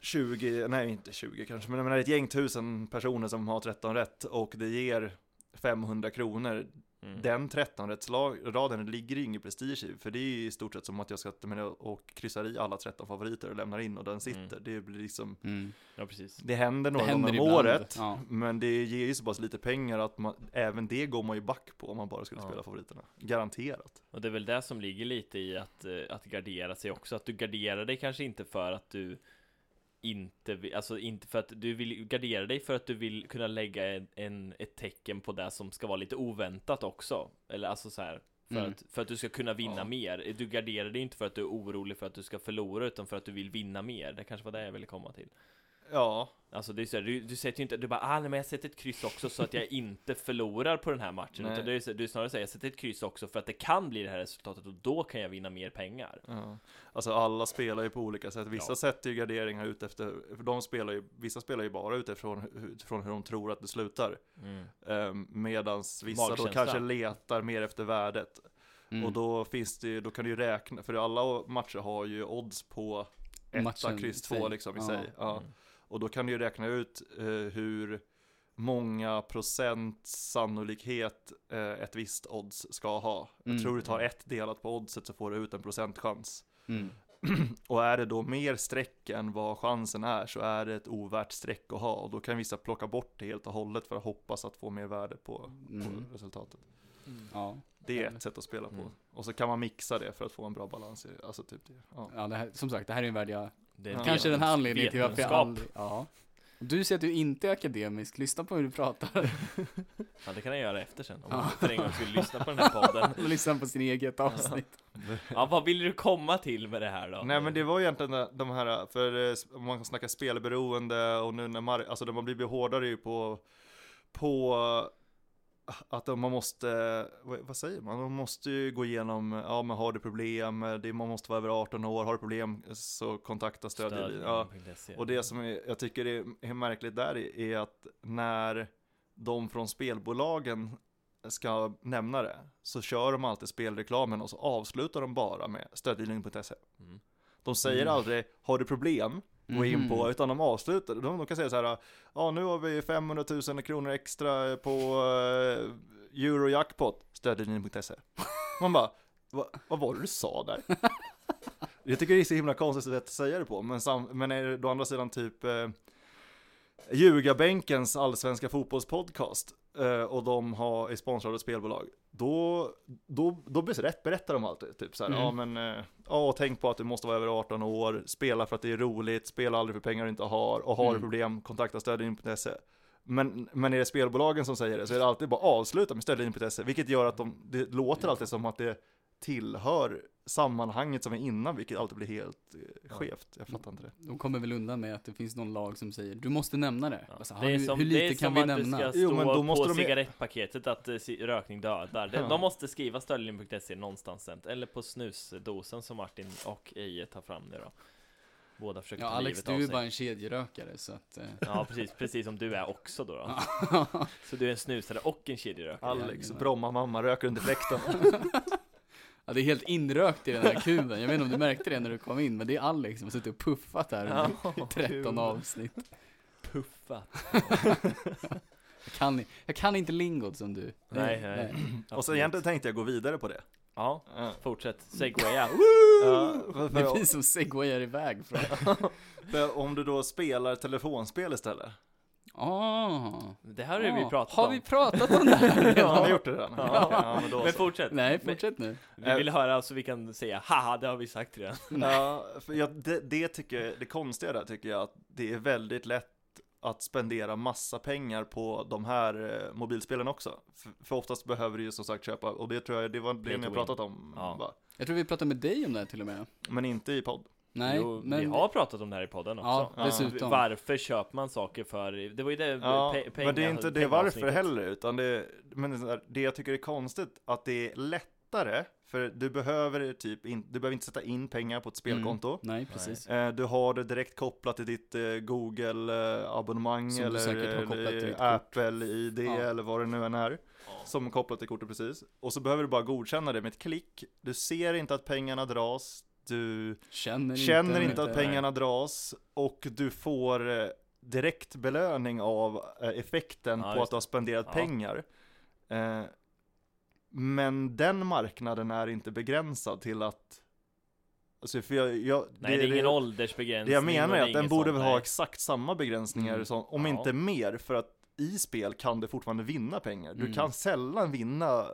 C: 20, nej inte 20 kanske, men när det är ett gäng tusen personer som har 13 rätt och det ger 500 kronor
B: mm.
C: Den 13-raden ligger ju ingen prestige i, för det är ju i stort sett som att jag ska ta med och kryssar i alla 13 favoriter och lämnar in och den sitter.
B: Mm.
C: Det blir liksom,
A: Mm.
B: Ja precis
C: det händer några
A: händer
C: gånger om
A: ibland,
C: året,
A: ja.
C: men det ger ju så pass lite pengar att man, även det går man ju back på om man bara skulle
B: Ja.
C: spela favoriterna. Garanterat.
B: Och det är väl det som ligger lite i att, eh, att gardera sig också Att du garderar dig kanske inte för att du inte vill, alltså inte för att du vill gardera dig för att du vill kunna lägga en, en, ett tecken på det som ska vara lite oväntat också Eller alltså så här för,
A: Mm.
B: att, för att du ska kunna vinna
C: Ja.
B: mer Du garderar dig inte för att du är orolig för att du ska förlora utan för att du vill vinna mer Det kanske var det jag ville komma till
C: Ja,
B: Alltså det är så här, du, du sätter ju inte, du bara ah, nej, men jag sätter ett kryss också så att jag inte förlorar på den här matchen
C: Nej.
B: Utan det är, så- du snarare säger jag sätter ett kryss också för att det kan bli det här resultatet och då kan jag vinna mer pengar
C: ja. Alltså alla spelar ju på olika sätt. Vissa
B: Ja.
C: sätter ju garderingar ut efter, för de spelar ju, vissa spelar ju bara utifrån, hu- utifrån hur de tror att det slutar.
B: Mm.
C: Um, medans vissa då
B: Magkänsla.
C: kanske letar mer efter värdet.
A: Mm.
C: Och då finns det ju- då kan du ju räkna, för alla matcher har ju odds på etta,
A: Matchen
C: kryss
A: i
C: två
A: sig.
C: liksom i
A: Ja.
C: sig. Ja.
B: Mm.
C: Och då kan du ju räkna ut eh, hur många procent sannolikhet eh, ett visst odds ska ha.
A: Mm.
C: Jag tror du tar ett delat på oddset så får du ut en procentchans.
A: Mm.
C: Och är det då mer streck än vad chansen är så är det ett ovärt streck att ha. Och då kan vissa plocka bort det helt och hållet för att hoppas att få mer värde på,
A: Mm.
C: på resultatet.
A: Ja.
C: Det är
A: Eller-
C: ett sätt att spela på.
B: Mm.
C: Och så kan man mixa det för att få en bra balans i det. Alltså typ det. Ja.
A: ja det här, som sagt, det här är en värld jag
B: Det är en
A: Kanske den här
B: vetens-
A: anledningen till varför jag
B: vetenskap.
A: aldrig, ja. Du säger att du inte är akademisk, lyssna på hur du pratar.
B: Ja, det kan jag göra efter sen, om
A: Ja.
B: man för en gång skulle lyssna på den här podden.
A: Och lyssna på sin eget avsnitt.
B: Ja, vad vill du komma till med det här då?
C: Nej men det var egentligen de här, för eh, om man kan snacka spelberoende och nu när mar- alltså de har blivit hårdare ju på, på eh, att man måste, vad vad säger man, man måste ju gå igenom, ja men har du problem, eh, det, man måste vara över 18 år, har du problem så kontakta stöd. Ja.
B: Stöd.se.
C: Och det som är- jag tycker är är märkligt där är- är att när de från spelbolagen ska nämna det så kör de alltid spelreklamen och så avslutar de bara med stödlinjen.se.
B: Mm.
C: E. De säger
A: Mm.
C: aldrig har du problem? Gå in på, utan de avslutar, de, de kan säga så här, ja nu har vi 500 000 kronor extra på eh, Eurojackpot, stödlinjen.se. E. Man bara, Va, vad var det du sa där? Jag tycker det är så himla konstigt sätt att säga det på, men, sam, men är det å andra sidan typ eh, Ljugarbänkens allsvenska fotbollspodcast eh, och de har, är sponsrade av spelbolag, då, då, då berätt, berättar de alltid typ så här,
A: Mm.
C: ja men, eh, ja och tänk på att du måste vara över 18 år, spela för att det är roligt, spela aldrig för pengar du inte har, och har du
A: Mm.
C: problem, kontakta stödlinjen.se. E. Men, men är det spelbolagen som säger det så är det alltid bara avsluta med stödlinjen.se, E, vilket gör att de, det låter alltid som att det tillhör sammanhanget som är innan, vilket alltid blir helt eh, skevt. Jag fattar inte det.
A: De kommer väl undan med att det finns någon lag som säger du måste nämna det.
B: Ja.
A: Bara så här,
B: Det är
A: hur,
B: som,
A: Alltså, hur
B: det
A: lite
B: är
A: kan
B: som
A: vi
B: att
A: nämna?
B: det ska stå
C: Jo, men då måste
B: på
C: de ju-
B: cigarettpaketet att eh, si- rökning dödar. De,
C: Ja.
B: de måste skriva stöldlinjen.se någonstans sen. Eller på snusdosen som Martin och Eje tar fram nu då. Båda försöker
A: Ja,
B: ta
A: Alex,
B: livet
A: du
B: av
A: är
B: sig.
A: bara en kedjerökare så att... eh,
B: Ja, precis. Precis som du är också då. då. Så du är en snusare och en kedjerökare.
C: Alex,
A: Jajamän.
C: Bromma mamma röker under fläkten.
A: ja, det är helt inrökt i den här kuben. Jag vet inte om du märkte det när du kom in, men det är Alex som har suttit och puffat här under
B: Ja,
A: 13 avsnitt.
B: Puffa.
A: Jag kan, i- jag kan inte lingot som du.
B: Nej, nej.
C: och sen
B: Absolut.
C: egentligen tänkte jag gå vidare på det.
B: Ja,
C: Ja.
B: fortsätt. Segwaya.
C: Ja, för,
A: Det är
C: för,
A: vi som segwayar iväg från...
C: för om du då spelar telefonspel istället.
A: Ah.
B: Det här har vi
A: Ah,
B: pratat
A: Har
B: om.
A: vi pratat om det här redan?
C: Har ni gjort det redan?
B: Ja.
C: Ja, okej, ja, men då
B: Men
C: så.
B: fortsätt.
A: Nej, fortsätt nu.
B: Vi vill höra så vi kan säga haha, det har vi sagt redan.
C: Ja, för jag, det, det tycker jag, det konstiga där tycker jag att det är väldigt lätt att spendera massa pengar på de här eh, mobilspelen också. För, för oftast behöver du ju som sagt köpa, och det tror jag, det var
B: Play
C: det
B: to
C: ni har
B: win.
C: pratat om
B: Ja.
C: va?
A: Jag tror vi pratade med dig om det här till och med.
C: Men inte i podd.
A: Nej,
B: jo,
A: men...
B: vi har pratat om det här i podden också.
A: Ja,
C: Ja.
A: dessutom.
B: Varför köper man saker för, det var ju det
C: Ja,
B: pe- pengar-
C: men det är inte det varför
B: pengaavsnittet.
C: heller, utan det, men det, är så här, det jag tycker är konstigt att det är lättare, för du behöver typ in, du behöver inte sätta in pengar på ett spelkonto.
A: Mm. Nej, precis.
C: Eh, Du har det direkt kopplat till ditt eh, Google-abonnemang
A: Som du
C: eller, eh,
A: säkert har kopplat till ditt
C: eller
A: kort.
C: Apple-ID
A: Ja.
C: eller vad det nu än är.
B: Ja.
C: Som är kopplat till kortet precis. Och så behöver du bara godkänna det med ett klick. Du ser inte att pengarna dras. Du
A: Känner,
C: känner
A: inte,
C: inte att pengarna dras. Och du får eh, direkt belöning av eh, effekten
B: Ja,
C: på
B: just
C: att du har spenderat
B: Ja.
C: pengar. Eh, Men den marknaden är inte begränsad till att... Alltså, för jag, jag,
B: Nej, det, är ingen åldersbegränsning.
C: det jag menar
B: och
C: är
B: det
C: att den
B: inget
C: borde
B: sånt,
C: väl ha
B: nej.
C: exakt samma begränsningar
A: Mm.
C: som, om
B: Ja.
C: inte mer, för att i spel kan du fortfarande vinna pengar. Du
A: Mm.
C: kan sällan vinna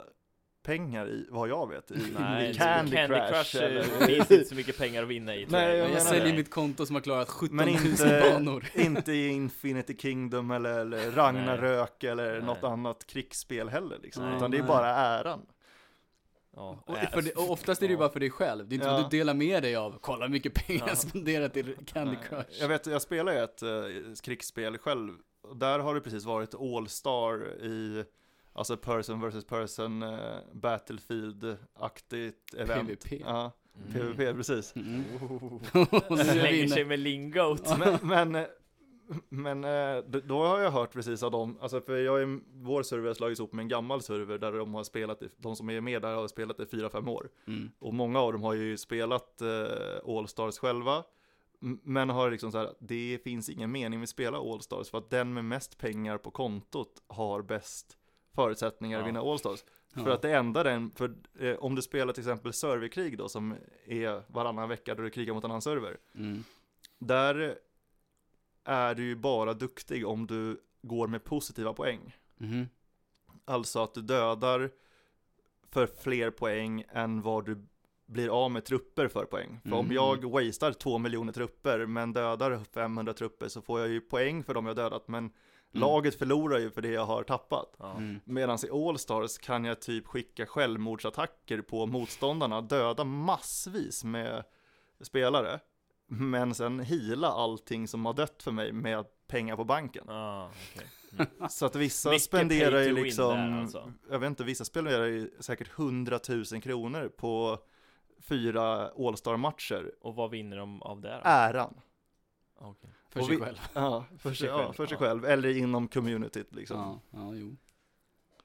C: pengar i, vad jag vet, i,
B: Nej,
C: i Candy, Crush.
B: eh,
C: eller,
B: finns inte så mycket pengar att vinna i. tror
C: Nej, jag
A: Jag,
C: menar
A: säljer
C: det.
A: mitt konto som har klarat 17 000
C: Men inte-
A: banor.
C: inte i Infinity Kingdom eller, eller Ragnarök eller
B: Nej.
C: något annat krigsspel heller liksom.
B: Nej.
C: Utan det är
A: Nej.
C: bara äran.
B: Ja,
A: Och,
B: äh,
A: för det, och oftast är det ju
B: ja.
A: bara för dig själv. Det är inte som
C: Ja.
A: att du delar med dig av, kolla hur mycket pengar
B: Ja.
A: jag spenderat i Candy
C: Nej.
A: Crush.
C: Jag vet, jag spelar ju ett eh, krigsspel själv. Och Där har det precis varit All Star i, alltså person vs person, eh, Battlefield-aktigt event.
A: PvP.
C: Ja,
B: Mm.
C: PvP, precis.
A: Mm.
C: Oh.
A: Och nu är vi
B: Slänger sig
A: inne.
B: med lingot.
C: Men, men, eh, men eh, d- då har jag hört precis av dem, alltså för jag är, vår server har slagits ihop med en gammal server där de har spelat, i, de som är med där har spelat i 4-5 år.
A: Mm.
C: Och många av dem har ju spelat eh, Allstars själva. m- Men har liksom så här, det finns ingen mening med att spela Allstars för att den med mest pengar på kontot har bäst förutsättningar
B: Ja.
C: att vinna Allstars.
A: Ja.
C: För att det enda den, för eh, om du spelar till exempel serverkrig då som är varannan vecka då du krigar mot en annan server.
A: Mm.
C: Där är du ju bara duktig om du går med positiva poäng.
A: Mhm.
C: Alltså att du dödar för fler poäng än vad du blir av med trupper för poäng. För om
A: Mm.
C: jag wastar 2 miljoner trupper men dödar 500 trupper så får jag ju poäng för dem jag dödat men laget förlorar ju för det jag har tappat.
B: Ja.
A: Mm.
C: Medan i Allstars kan jag typ skicka självmordsattacker på motståndarna, döda massvis med spelare. Men sen hila allting som har dött för mig med pengar på banken.
B: Ah, okej.
C: Så att vissa
B: Mycket
C: spenderar
B: pay
C: ju
B: to win
C: liksom,
B: där, alltså.
C: jag vet inte, vissa spenderar ju säkert 100 000 kronor på fyra All-star-matcher.
B: Och vad vinner de av det
A: Äh,
B: då?
C: Äran.
B: Okej.
A: För
C: Och
A: sig
C: vi-
A: själv.
C: Ja, för sig,
B: sig
C: ja,
B: själv,
C: för sig
B: ja.
C: själv. Eller inom communityt liksom.
A: Ja, ja, jo.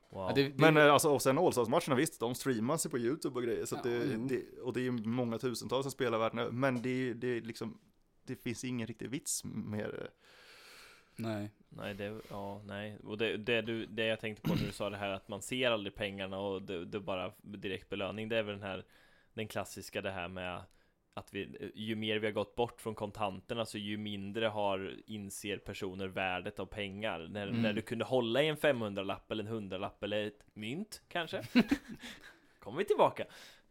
B: Wow.
A: Ja, det, det,
C: Men eh, alltså, och sen Allstars-matcherna, visst, de streamas ju på YouTube och grejer. Så att
A: Ja,
C: det,
A: jo.
C: det, och det är ju många tusentals som spelar världen över, Men det, är- det är liksom, det finns ingen riktig vits med det.
A: nej.
B: Nej, det, ja, nej. Och det, det, du, det jag tänkte på när du sa det här att man ser aldrig pengarna och det, det är bara direkt belöning. Det är väl den här, den klassiska det här med att vi, ju mer vi har gått bort från kontanterna så ju mindre har inser personer värdet av pengar. När,
A: Mm.
B: när du kunde hålla i en 500-lapp eller en 100-lapp eller ett mynt kanske. Kommer vi tillbaka.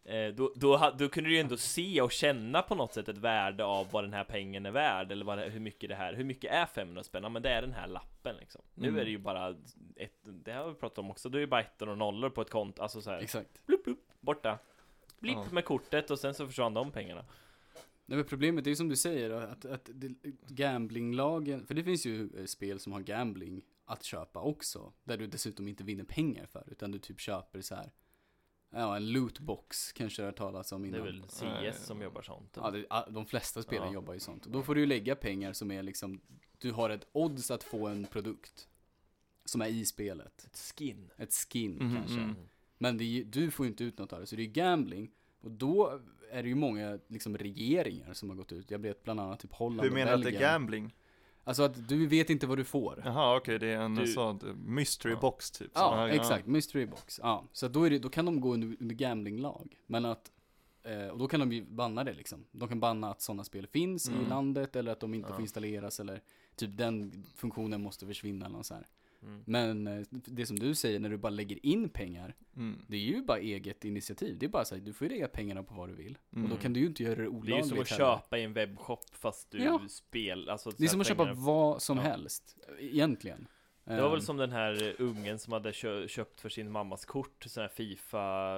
B: Eh, då, då, ha- då kunde du ju ändå se och känna på något sätt ett värde av vad den här pengen är värd eller vad det, hur mycket det här, hur mycket är 500 spänn? Ja men det är den här lappen liksom. Nu
A: Mm.
B: är det ju bara ett, det här har vi pratat om också, då är det bara ettor och nollor på ett konto, alltså så här,
A: Exakt.
B: blupp, blupp, borta. Blipp
C: Ja.
B: med kortet och sen så försvann de pengarna.
A: Nej, men problemet är ju som du säger att, att det- gamblinglagen, för det finns ju eh, spel som har gambling att köpa också, där du dessutom inte vinner pengar för, utan du typ köper så här, ja en lootbox kanske det har talats om
B: Det
A: innan.
B: är väl CS
C: Nej.
B: som jobbar sånt.
A: Ja, det, ah, de flesta spelen
B: Ja.
A: jobbar ju sånt. Och Då får du ju lägga pengar som är liksom, du har ett odds att få en produkt som är i spelet.
B: Ett skin.
A: Ett skin
C: Mhm,
A: kanske.
C: mm.
A: Men det är, ju- du får ju inte ut något av det, så det är ju gambling. Och då är det ju många liksom, regeringar som har gått ut. Jag vet bland annat typ Holland
C: Hur
A: och
C: menar du att
A: Belgien.
C: det är gambling?
A: Alltså att du vet inte vad du får. Ja,
C: Jaha, okej, det är en
B: Du-
C: sån mystery
B: Ja.
C: box typ. Såna-
A: exakt. Mystery box. Ja, så att då, är det, då kan de gå under, under gamblinglag. Men att, eh, och då kan de ju banna det liksom. De kan banna att sådana spel finns i
C: Mm.
A: landet eller att de inte
B: Ja.
A: får installeras eller typ den funktionen måste försvinna eller något så här.
B: Mm.
A: Men eh, det som du säger när du bara lägger in pengar,
C: Mm.
A: det är ju bara eget initiativ. Det är bara så här, du får ju lägga pengarna på vad du vill.
C: Mm.
A: Och då kan du ju inte göra det
B: Det är ju
A: olagligt
B: som att
A: heller.
B: köpa i en webbshop fast du
A: Ja.
B: spel, alltså
A: Det är
B: så
A: som
B: här
A: att köpa
B: pengar-
A: vad som
B: Ja.
A: helst, egentligen. Ehm.
B: Det var väl som den här ungen som hade kö- köpt för sin mammas kort, sådana här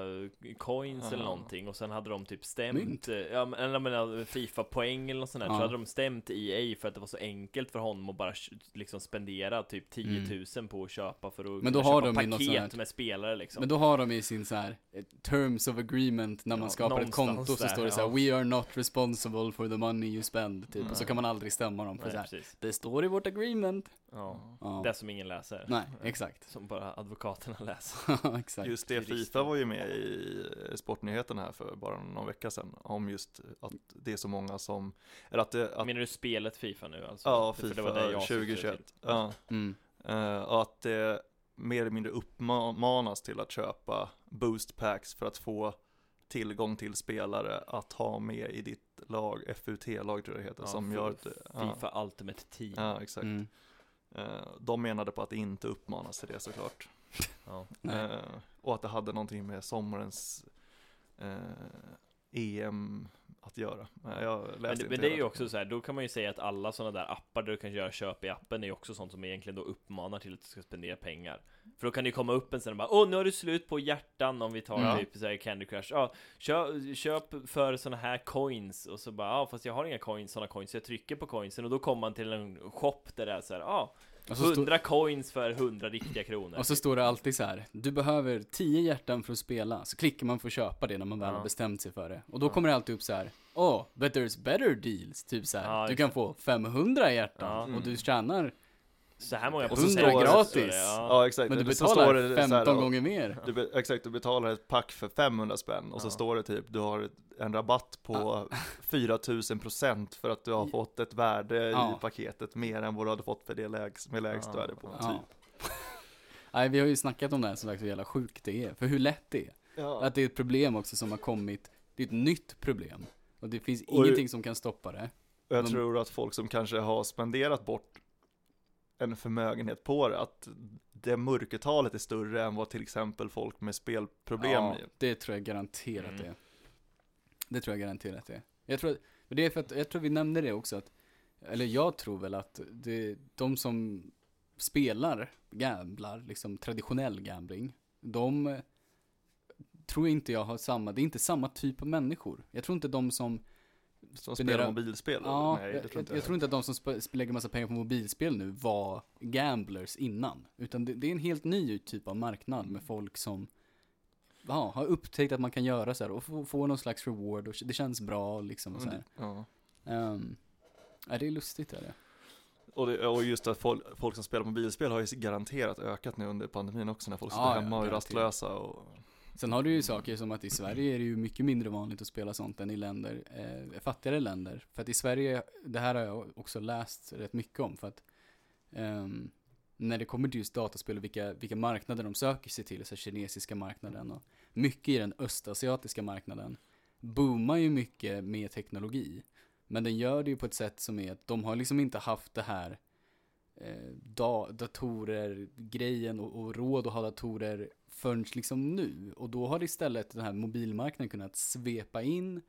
B: Fifa-coins eller
C: Ja.
B: någonting Och sen hade de typ
A: Mynt.
B: stämt, eh, ja, men, eller jag menar Fifa-poäng eller något sånt där
A: Ja.
B: Så hade de stämt EA för att det var så enkelt för honom att bara kö- liksom spendera typ 10 000 på att köpa för att
A: Mm. Men då
B: kunna
A: har
B: köpa
A: de ju något sånt
B: paket
A: här-
B: med spelare liksom
A: Men då har de i sin så här eh, terms of agreement när man
B: Ja,
A: skapar ett
B: någonstans
A: konto så
B: där,
A: står det så här
B: ja.
A: We are not responsible for the money you spend typ och så
B: Nej.
A: kan man aldrig stämma dem för
B: Nej,
A: så här
B: precis.
A: Det står i vårt agreement.
B: Ja.
A: Ja.
B: Det som ingen läser
A: Nej, exakt.
B: Som bara advokaterna läser
A: exakt.
C: Just det,
B: Jurister.
C: Fifa var ju med i eh, sportnyheten här för bara någon vecka sedan om just att det är så många som, eller att det, att,
B: Menar du spelet Fifa nu alltså?
C: ja,
B: För det
C: Fifa
B: var det Mm. jag syftade
C: 2021,
B: till.
C: ja,
A: Mm.
C: eh, och att det mer eller mindre uppmanas till att köpa boost packs för att få tillgång till spelare att ha med i ditt lag, FUT-lag tror jag det heter,
B: Ja,
C: som
B: Fi-
C: gör det. Ja,
B: Fifa Ultimate Team
C: ja, exakt.
A: Mm.
C: Eh, De menade på att det inte uppmanas till det såklart.
B: Ja.
A: Nej.
C: Eh, och att det hade någonting med sommarens eh, EM att göra. Men jag läste
B: Men,
C: inte
B: men det är
C: hela
B: ju också
C: artikeln.
B: så här, då kan man ju säga att alla sådana där appar där du kan göra köp i appen är ju också sånt som egentligen då uppmanar till att du ska spendera pengar. För då kan det ju komma upp en sen och bara Åh, nu har du slut på hjärtan om vi tar
C: Ja.
B: typ så här Candy Crush. Ja, kö, köp för sådana här coins och så bara ja, fast jag har inga coins, sådana coins, så jag trycker på coinsen och då kommer man till en shop där det är så här ja,
A: Och, så stå,
B: 100 coins för 100 riktiga kronor.
A: och så står det alltid så här Du behöver 10 hjärtan för att spela. Så klickar man för att köpa det när man väl
B: Ja.
A: har bestämt sig för det. Och då kommer det alltid upp så här Åh, oh, but there's better deals. Typ så här.
B: Ja,
A: du
B: just
A: kan få 500 hjärtan
C: Ja.
A: och du tjänar
B: Så här många
A: Och så
B: procent.
A: står det
B: så
A: gratis.
B: ja.
C: Ja exakt,
A: men du
C: Det- så står det
A: betalar
C: så här,
A: 15 gånger mer.
C: du, be- Exakt, du betalar ett pack för 500 spänn och så
B: Ja.
C: står det typ du har ett- en rabatt på 4000% för att du har fått ett värde
A: Ja.
C: i paketet mer än vad du hade fått för det lägst, med lägst
B: Ja.
C: värde på. typ.
A: Ja. Nej, vi har ju snackat om det här som sagt hur jävla sjukt det är, för hur lätt det är.
C: Ja.
A: Att det är ett problem också som har kommit, det är ett nytt problem. Och det finns
C: Och-
A: ingenting som kan stoppa det.
C: Och jag
A: de-
C: tror att folk som kanske har spenderat bort en förmögenhet på det, att det mörkertalet är större än vad till exempel folk med spelproblem
A: Ja, det tror jag garanterat
B: Mm.
A: det är. Det tror jag garanterat det är. Jag tror, att, men det är för att, jag tror vi nämnde det också att, eller jag tror väl att det, de som spelar, gamblar, liksom traditionell gambling, de eh, tror inte jag har samma, det är inte samma typ av människor. Jag tror inte de som
C: Som
A: Spendera-
C: spelar mobilspel?
A: Ja,
C: Nej, det
A: jag,
C: tror
A: jag,
C: inte
A: jag tror inte att de som sp- sp- lägger massa pengar på mobilspel nu var gamblers innan. Utan det, det är en helt ny typ av marknad
C: Mm.
A: med folk som ja, har upptäckt att man kan göra så här och få, få någon slags reward och det känns bra liksom
C: Mm.
A: och så här.
C: Ja.
A: Ehm, ja, det är lustigt är det.
C: Och, det, och just att folk, folk som spelar mobilspel har ju garanterat ökat nu under pandemin också när folk
A: Ja,
C: sitter
A: ja,
C: hemma och är
A: garanterat.
C: rastlösa och
A: Sen har du ju saker som att i Sverige är det ju mycket mindre vanligt att spela sånt än i länder, eh, fattigare länder. För att i Sverige, det här har jag också läst rätt mycket om, för att ehm, när det kommer till just dataspel och vilka, vilka marknader de söker sig till, så här kinesiska marknaden och mycket i den östasiatiska marknaden, boomar ju mycket med teknologi. Men den gör det ju på ett sätt som är att de har liksom inte haft det här eh, da- datorer, grejen och, och råd att ha datorer förrän liksom nu. Och då har istället den här mobilmarknaden kunnat svepa in,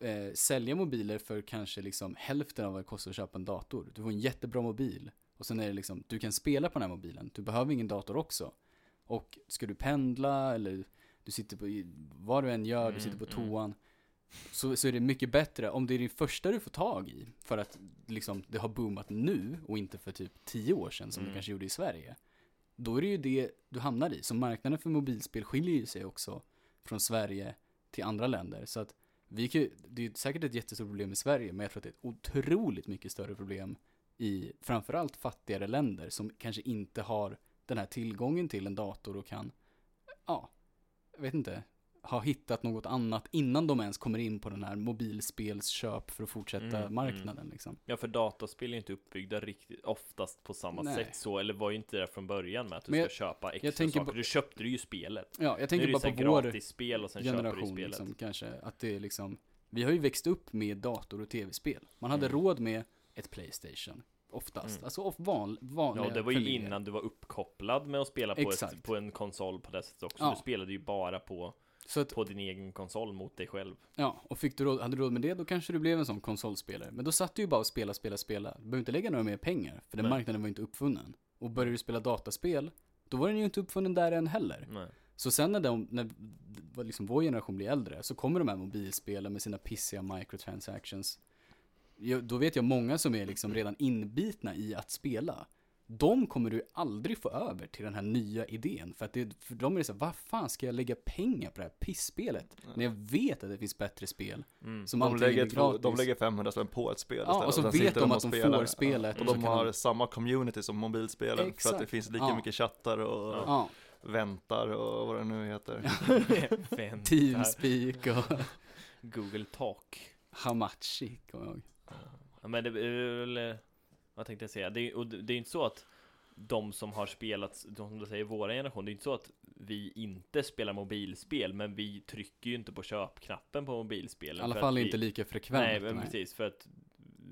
A: eh, sälja mobiler för kanske liksom hälften av vad det kostar att köpa en dator. Du får en jättebra mobil och sen är det liksom, du kan spela på den här mobilen, du behöver ingen dator också. Och ska du pendla eller du sitter på, i- vad du än gör, du
B: Mm,
A: sitter på
B: mm.
A: toan. Så, så är det mycket bättre om det är din första du får tag i, för att liksom det har boomat nu och inte för typ tio år sedan som det
B: Mm.
A: kanske gjorde i Sverige. Då är det ju det du hamnar i. Så marknaden för mobilspel skiljer ju sig också från Sverige till andra länder. Så att vi kan, ju- det är ju säkert ett jättestort problem i Sverige, men jag tror att det är ett otroligt mycket större problem i framförallt fattigare länder som kanske inte har den här tillgången till en dator och kan, ja, jag vet inte, ha hittat något annat innan de ens kommer in på den här mobilspelsköp för att fortsätta
B: Mm,
A: marknaden liksom.
B: Ja för dataspel är ju inte uppbyggda riktigt oftast på samma
A: Nej.
B: sätt så, eller var ju inte där från början med att du
A: Men
B: ska
A: jag-
B: köpa extra
A: jag tänker
B: saker.
A: på-
B: Du köpte ju spelet.
A: Ja, jag
B: nu är
A: tänker bara
B: det ju
A: på
B: så här
A: vår
B: gratis spel och sen köper du ju
A: generation
B: spelet.
A: liksom, kanske, att det är liksom, vi har ju växt upp med dator och tv-spel. Man hade
B: Mm.
A: råd med ett Playstation, oftast.
B: Mm.
A: Alltså of- van, vanliga
B: Ja, det var ju
A: familjer.
B: innan du var uppkopplad med att spela på, ett,
A: Exakt.
B: på en konsol på det sättet också.
A: Ja.
B: Du spelade ju bara på,
A: Så att,
B: på din egen konsol mot dig själv.
A: ja, och fick du råd, hade du råd med det, då kanske du blev en sån konsolspelare. Men då satt du ju bara och spela, spela, spela. Du behöver inte lägga några mer pengar, för den
B: Nej.
A: marknaden var ju inte uppfunnen. Och började du spela dataspel, då var den ju inte uppfunnen där än heller.
B: Nej.
A: Så sen när, de, när vad liksom vår generation blir äldre så kommer de här mobilspelen med sina pissiga microtransactions. Jag, då vet jag många som är liksom redan inbitna i att spela. De kommer du aldrig få över till den här nya idén. För, att det, för de är så här, vad fan ska jag lägga pengar på det här pisspelet? När jag vet att det finns bättre spel.
B: Mm.
A: Som
C: de
A: antingen
C: lägger,
A: är
C: två-
A: gratis.
C: de lägger 500 spänn på ett spel
A: Ja, och så
C: sen
A: vet
C: sitter
A: de
C: och
A: att de
C: spelar.
A: får spelet
C: Och
A: och så
C: de
A: kan
C: har
A: de-
C: samma community som mobilspelen för
A: Exakt.
C: att det finns lika
A: Ja.
C: mycket chattar och
B: Ja.
A: ja,
C: väntar och vad det nu heter.
B: Vänta.
A: Teamspeak och
B: Google Talk.
A: Hamachi kommer jag ihåg.
B: Ja, men det är väl, eh, vad tänkte jag säga? Det är, och det det är inte så att de som har spelat, de som du säger, våra generation, det är inte så att vi inte spelar mobilspel, men vi trycker ju inte på köpknappen på mobilspelen.
A: I alla
B: för
A: fall
B: att vi,
A: inte lika frekvent.
B: Nej, men
A: nej.
B: precis, för att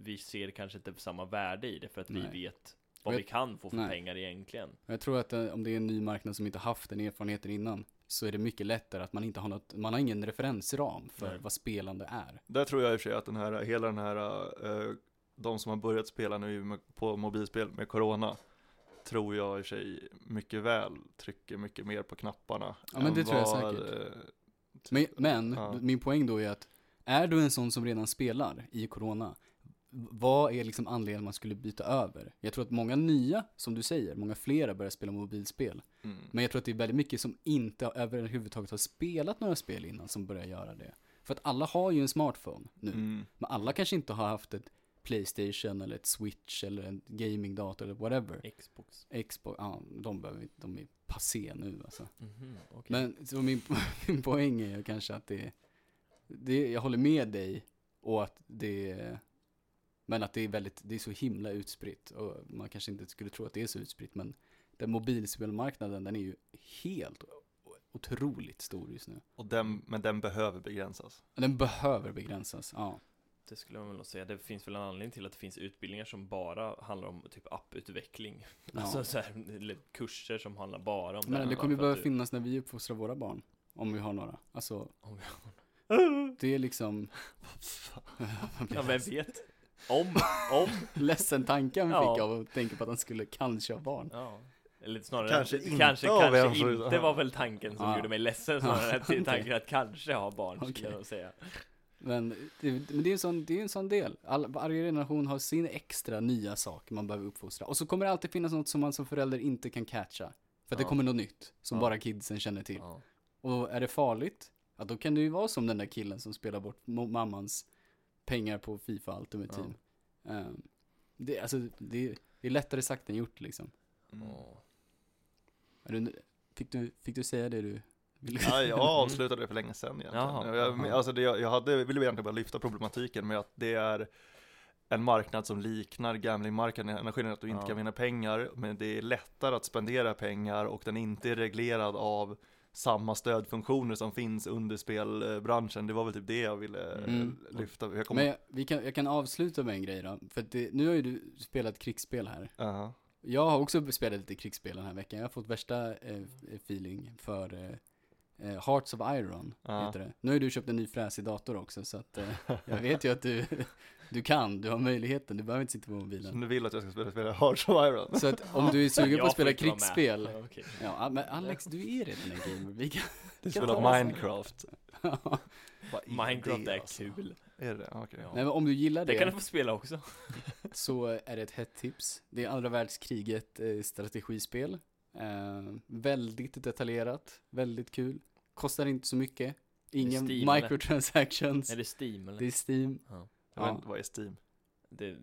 B: vi ser kanske inte samma värde i det, för att
A: Nej.
B: vi vet vad
A: Jag-
B: vi kan få för
A: Nej.
B: pengar egentligen.
A: Men Jag tror att eh, om det är en ny marknad som inte haft den erfarenheten innan så är det mycket lättare att man inte har något, man har ingen referensram för
B: Nej.
A: vad spelande är.
C: Där tror jag i och för sig att den här, hela den här, eh, de som har börjat spela nu med- på mobilspel med corona, tror jag i och för sig mycket väl trycker mycket mer på knapparna.
A: Ja, men
C: än
A: det tror jag
C: vad,
A: säkert.
C: eh, typ-
A: Men, men
C: ja.
A: min poäng då är att är du en sån som redan spelar i corona, v- vad är liksom anledningen man skulle byta över? Jag tror att många nya, som du säger, många flera börjar spela mobilspel.
C: Mm.
A: Men jag tror att det är väldigt mycket som inte har- överhuvudtaget har spelat några spel innan som börjar göra det. För att alla har ju en smartphone nu.
C: Mm.
A: Men alla kanske inte har haft ett Playstation eller ett Switch eller en gamingdator eller whatever.
B: Xbox.
A: Xbox, ja de behöver inte, de är passé nu alltså.
B: Mhm, okej.
A: Men så min, min poäng är ju kanske att det, det, jag håller med dig och att det, men att det är väldigt, det är så himla utspritt och man kanske inte skulle tro att det är så utspritt men den mobilspelmarknaden den är ju helt o- otroligt stor just nu.
C: Och den, men den behöver begränsas.
A: Den behöver begränsas, ja.
B: Det skulle man väl säga. Det finns väl en anledning till att det finns utbildningar som bara handlar om typ apputveckling.
A: ja.
B: Alltså så här, eller kurser som handlar bara om
A: Men
B: här,
A: det
B: bara
A: kommer ju
B: för att
A: behöva finnas när vi uppfostrar våra barn. Om vi har några. Alltså,
B: Om vi
A: Det är liksom
B: Ja, vem vet? Om, om.
A: ledsen tanken vi
B: Ja.
A: fick av att tänka på att han skulle kanske ha barn.
B: Ja. Eller snarare, kanske
C: Kanske inte
B: inte, kanske,
C: av
B: kanske
C: en fru-
B: inte var väl tanken som
A: Ja.
B: gjorde mig ledsen snarare än till tanken att kanske ha barn, skulle
A: Okej.
B: jag nog säga.
A: Men det, men det är ju en sån, det är ju en sån del. All, varje generation har sin extra nya sak man behöver uppfostra. Och så kommer det alltid finnas något som man som förälder inte kan catcha. För att det
B: Ja.
A: kommer något nytt som
B: Ja.
A: bara kidsen känner till.
B: Ja.
A: Och är det farligt, ja då kan det ju vara som den där killen som spelar bort mo- mammans pengar på Fifa Ultimate
B: Ja.
A: Team. Ehm, det, alltså, det, det är lättare sagt än gjort liksom.
B: Mm.
A: Är du, fick, du, fick du säga det du ville?
C: Ja, jag avslutade det för länge sedan egentligen.
B: Jaha,
C: jag,
B: jaha.
C: alltså det, jag jag hade, ville egentligen bara lyfta problematiken med att det är en marknad som liknar gamblingmarknaden i den här skillnaden att du inte
B: Ja.
C: kan vinna pengar, men det är lättare att spendera pengar och den inte är reglerad av samma stödfunktioner som finns under spelbranschen. Det var väl typ det jag ville eh,
A: Mm.
C: lyfta. Jag
A: Men
C: kommer...
A: jag, vi kan, jag kan avsluta med en grej då. För att det, nu har ju du spelat krigsspel här.
C: Aha.
A: Jag har också spelat lite krigsspel den här veckan. Jag har fått värsta eh, feeling för eh, eh, Hearts of Iron.
C: Ja.
A: Heter det. Nu har ju du köpt en ny fräsig dator också så att eh, jag vet ju att du, du kan, du har möjligheten, du behöver inte sitta på
C: Så
A: mobilen.
C: nu vill att jag ska spela, spela Hearts of Iron.
A: Så att om du är sugen på
B: Jag
A: att spela
B: får inte vara med.
A: krigsspel,
B: Ja, okej.
A: ja men Alex du är redan en gamer. Vi kan,
C: Du
A: kan
C: spelar
A: ta oss-
C: Minecraft. Vad är
B: Minecraft
C: det,
B: är
C: alltså?
B: kul.
C: Är det Okej.
B: Ja.
A: Nej men om du gillar
B: Det
A: det,
B: kan du få spela också.
A: så är det ett hett tips. Det är andra världskriget eh, strategispel. Eh, väldigt detaljerat, väldigt kul. Kostar inte så mycket. Ingen
B: Steam, eller?
A: microtransactions.
B: Är det Steam eller?
A: Det är Steam.
B: Ja.
C: Jag vet
A: Ja.
C: inte, vad är Steam?
B: Det,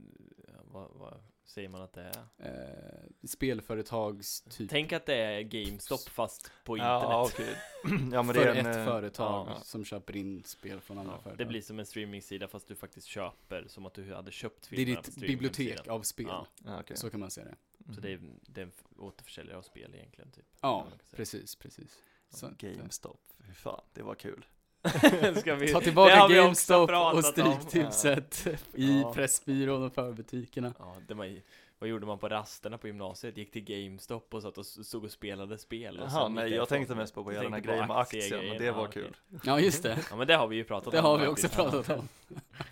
B: vad, vad säger man att det är?
A: Eh, spelföretags typ.
B: Tänk att det är GameStop fast på internet.
C: Ja, okej. ja, men det
A: för
C: är en,
A: ett
C: eh,
A: företag
C: ja.
A: som köper in spel från andra
B: Ja,
A: företag.
B: det blir som en streamingsida fast du faktiskt köper som att du hade köpt
A: det är
B: filmerna på
A: ditt bibliotek Mm.
B: streaminghemsidan.
A: av spel.
B: Ja,
C: Ja, okej. Mm.
A: Så kan man se det.
B: Så det är, det är en f- återförsäljare av spel egentligen typ.
A: Ja,
B: kan man säga.
A: precis, precis. Så, att, eh,
C: GameStop, fy fan, det var kul.
B: Ska vi-
A: Ta
B: det har
A: tillbaka
B: vi också
A: GameStop och
B: pratat om.
A: Stryktipset i
B: Ja.
A: Pressbyrån och förbutikerna.
B: Ja, det man, vad gjorde man på rasterna på gymnasiet? Gick till GameStop och satt och s- stod och spelade spel? Och
C: Jaha,
B: sen gick
C: Alltså, nej jag
B: därifrån.
C: tänkte mest på vad
B: Jag
C: hela den här
B: tänkte på
C: grejen med aktien,
B: aktiegrejen.
C: men det
B: Ja,
C: var
B: okej.
C: kul.
A: Ja, just det.
B: Ja men det har vi ju pratat
A: Det
B: om.
A: har vi också
B: faktiskt.
A: pratat om.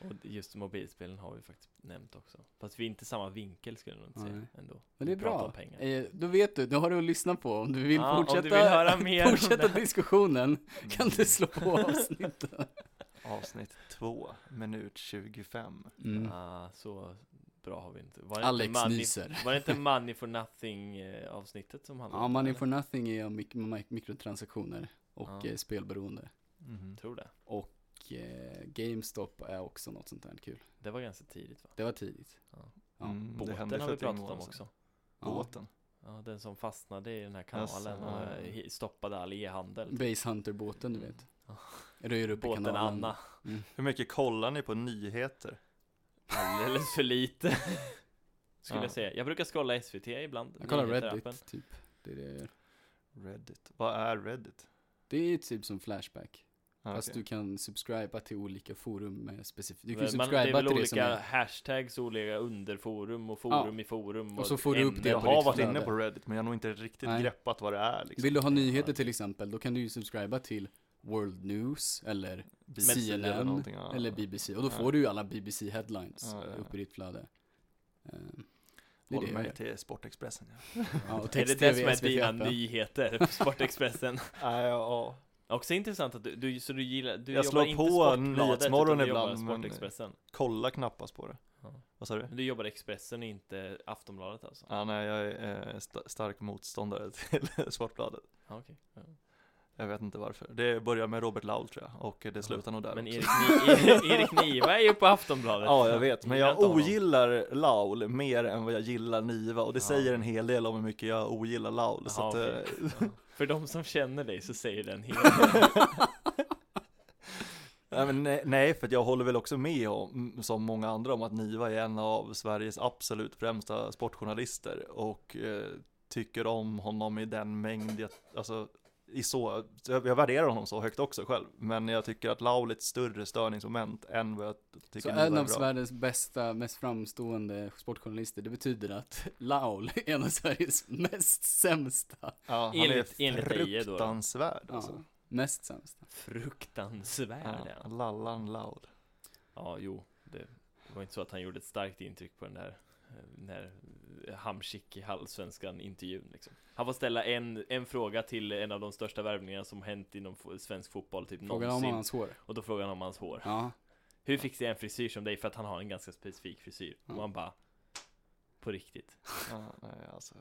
B: Och just mobilspelen har vi faktiskt nämnt också. Fast vi är inte samma vinkel skulle jag nog inte
A: Nej.
B: säga ändå.
A: Men det är
B: Vi pratar
A: bra.
B: om pengar.
A: Eh, då vet du, då har du att lyssna på. Om du vill
B: Ja, om du
A: fortsätta,
B: vill höra mer om det
A: fortsätta
B: här.
A: diskussionen kan du slå på avsnittet.
C: Mm. Avsnitt 2, minut 25.
A: Mm.
B: Ah, så bra har vi inte. Var det
A: Alex
B: inte money,
A: nyser.
B: Var det inte Money for Nothing eh, avsnittet som handlade
A: Ja,
B: om
A: Money
B: det,
A: for Nothing är mik- mik- mikrotransaktioner och
B: Ja.
A: eh, spelberoende.
B: eller?
C: Mm-hmm.
B: Tror det.
A: Och eh, GameStop är också något sånt där kul.
B: Det var ganska tidigt va?
A: Det var tidigt. Ja.
C: Mm, det
B: Båten
C: hände
B: har
C: för
B: vi
C: ett gäng
B: pratat om
C: år
B: också.
C: sedan. Båten.
B: Ja, den som fastnade i den här
C: Jaså,
B: kanalen och
C: Alltså, ja.
B: eh, hi- stoppade all e-handel.
A: Base Hunter-båten, du vet.
B: Ja.
A: Röjer upp i
B: Båten
A: kanalen.
B: Anna.
C: Hur mycket kollar ni på nyheter?
B: Alldeles för lite. Skulle
C: Ja.
B: jag säga. Jag brukar scrolla SVT ibland.
A: Jag kollar
B: nyheter i appen.
A: Reddit, typ. Det är, det, jag gör.
C: Reddit. Vad är Reddit?
A: det är typ som Flashback.
C: Ah,
A: Fast
C: okej.
A: du kan subscriba till olika forum med specifikt. Du
B: Men
A: kan
B: Man, det är
A: subscriba
B: väl
A: till det som
B: olika
A: är.
B: hashtags, olika underforum och forum i forum.
A: Och så får du upp det
C: Jag
A: på
C: har
A: ditt
C: varit
A: flöde.
C: inne på Reddit, men jag har nog inte riktigt
A: Nej.
C: greppat vad det är. Liksom.
A: Vill du ha nyheter till exempel, då kan du ju subscriba till World News eller
C: BBC
A: CNN
C: någonting, ja.
A: Eller BBC, och då
C: Ja.
A: får du ju alla BBC headlines
C: Ja, ja, ja.
A: upp i ditt flöde. Ehm, Det är det
C: Håller
A: jag
C: mig
A: gör.
C: till Sportexpressen. Ja.
A: Ja, och
B: Är det
A: text
B: det som är dina
A: SVT-appen.
B: nyheter? Sportexpressen.
C: Ah, ja, ja.
B: Också intressant att du, du så du gillar, du
C: Jag
B: jobbar
C: slår
B: inte
C: på
B: Sportbladet
C: Nyhetsmorgon
B: utan du jobbar
C: ibland, men-
B: Sportexpressen.
C: Kolla knappast på det.
B: Ja.
C: Vad sa du?
B: Men du jobbar Expressen och inte Aftonbladet alltså?
C: Ja, nej, jag är eh, sta- stark motståndare till Svartbladet.
B: Ja, okej. Ja.
C: Jag vet inte varför. Det börjar med Robert Laul tror jag, och det slutar nog där
B: Men
C: också.
B: Erik, Ni- Erik Niva är ju på Aftonbladet.
C: Ja, jag vet, men
B: Gillar
C: jag
B: inte honom.
C: ogillar Laul mer än vad jag gillar Niva, och det
B: Ja.
C: säger en hel del om hur mycket jag ogillar Laul. så
B: Ja,
C: att,
B: okej.
C: eh,
B: Ja. För de som känner dig så säger den helt
C: nej, men nej, nej, för att jag håller väl också med om, som många andra, om att Niva är en av Sveriges absolut främsta sportjournalister, och eh, tycker om honom i den mängd jag, alltså, i så, jag, jag värderar honom så högt också själv, men jag tycker att Laul är ett större störningsmoment än vad jag tycker
A: Så
C: Niva är
A: en av
C: bra.
A: Sveriges bästa, mest framstående sportjournalister, det betyder att Laul är en av Sveriges mest sämsta.
C: Ja, han
B: Enligt-
C: är
B: enligt dig då.
C: fruktansvärd alltså.
A: Ja. Näst sämst.
B: Fruktansvärda. Ja.
C: Lallan Loud.
B: jo. Det var inte så att han gjorde ett starkt intryck på den där eh, den här eh, Hamsik i Allsvenskan intervjun liksom. Han får ställa en, en fråga till en av de största värvningarna som hänt inom fo- svensk fotboll typ
A: Frågan om
B: någonsin.
A: hans hår.
B: Och då frågar han om hans hår.
A: Ja.
B: Hur fixar jag en frisyr som dig? För att han har en ganska specifik frisyr.
A: Mm.
B: Och han bara, på riktigt.
C: Ja, nej, alltså.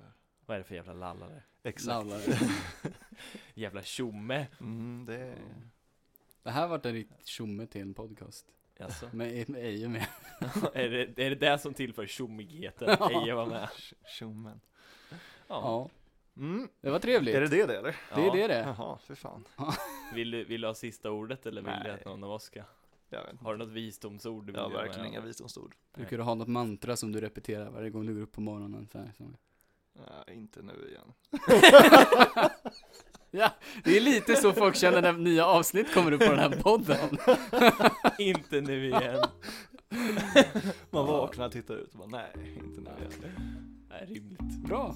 B: Vad är det för jävla lallare?
C: Exakt.
A: Lallare.
B: Jävla tjomme!
C: Mm, det är...
A: Ja. Det här vart en riktigt tjomme till en podcast.
B: Alltså,
A: Med med Eje med.
B: är, det, är det det som tillför tjommigheten?
A: Ja.
B: Eje var med.
C: Sh- Tjommen.
B: Ja.
A: Ja.
C: Mm.
A: Det var trevligt.
C: Är det det det eller?
A: Det är det det.
C: Jaha, för fan.
B: Vill, du, vill du ha sista ordet eller vill du
C: Nej.
B: att någon av oss ska?
C: Jag vet inte.
B: Har du något visdomsord du vill
C: Jag har
B: dela med
C: verkligen
B: dig
C: inga
B: av?
C: visdomsord.
B: Nej.
A: Brukar du ha något mantra som du repeterar varje gång du går upp på morgonen? Så här, så.
C: Nej, inte nu igen.
A: Ja, det är lite så folk känner när nya avsnitt kommer upp på den här podden.
B: Inte nu igen!
C: Man vaknar, tittar ut och bara nej, inte nu igen.
B: Nej, rimligt.
A: Bra.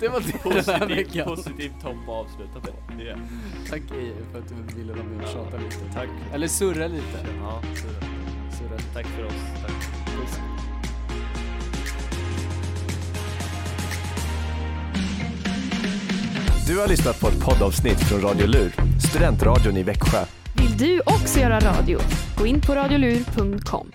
A: Det var det den här
B: Positiv,
A: veckan.
B: positiv topp att avsluta på.
A: Tack Eje för att du ville vara med och tjata lite.
C: Tack.
A: Eller surra lite.
B: Ja, så är det.
A: Surra lite.
B: tack för oss. Tack.
D: Du har lyssnat på ett poddavsnitt från Radio Lur, studentradion i Växjö.
E: Vill du också göra radio? Gå in på radiolur.com.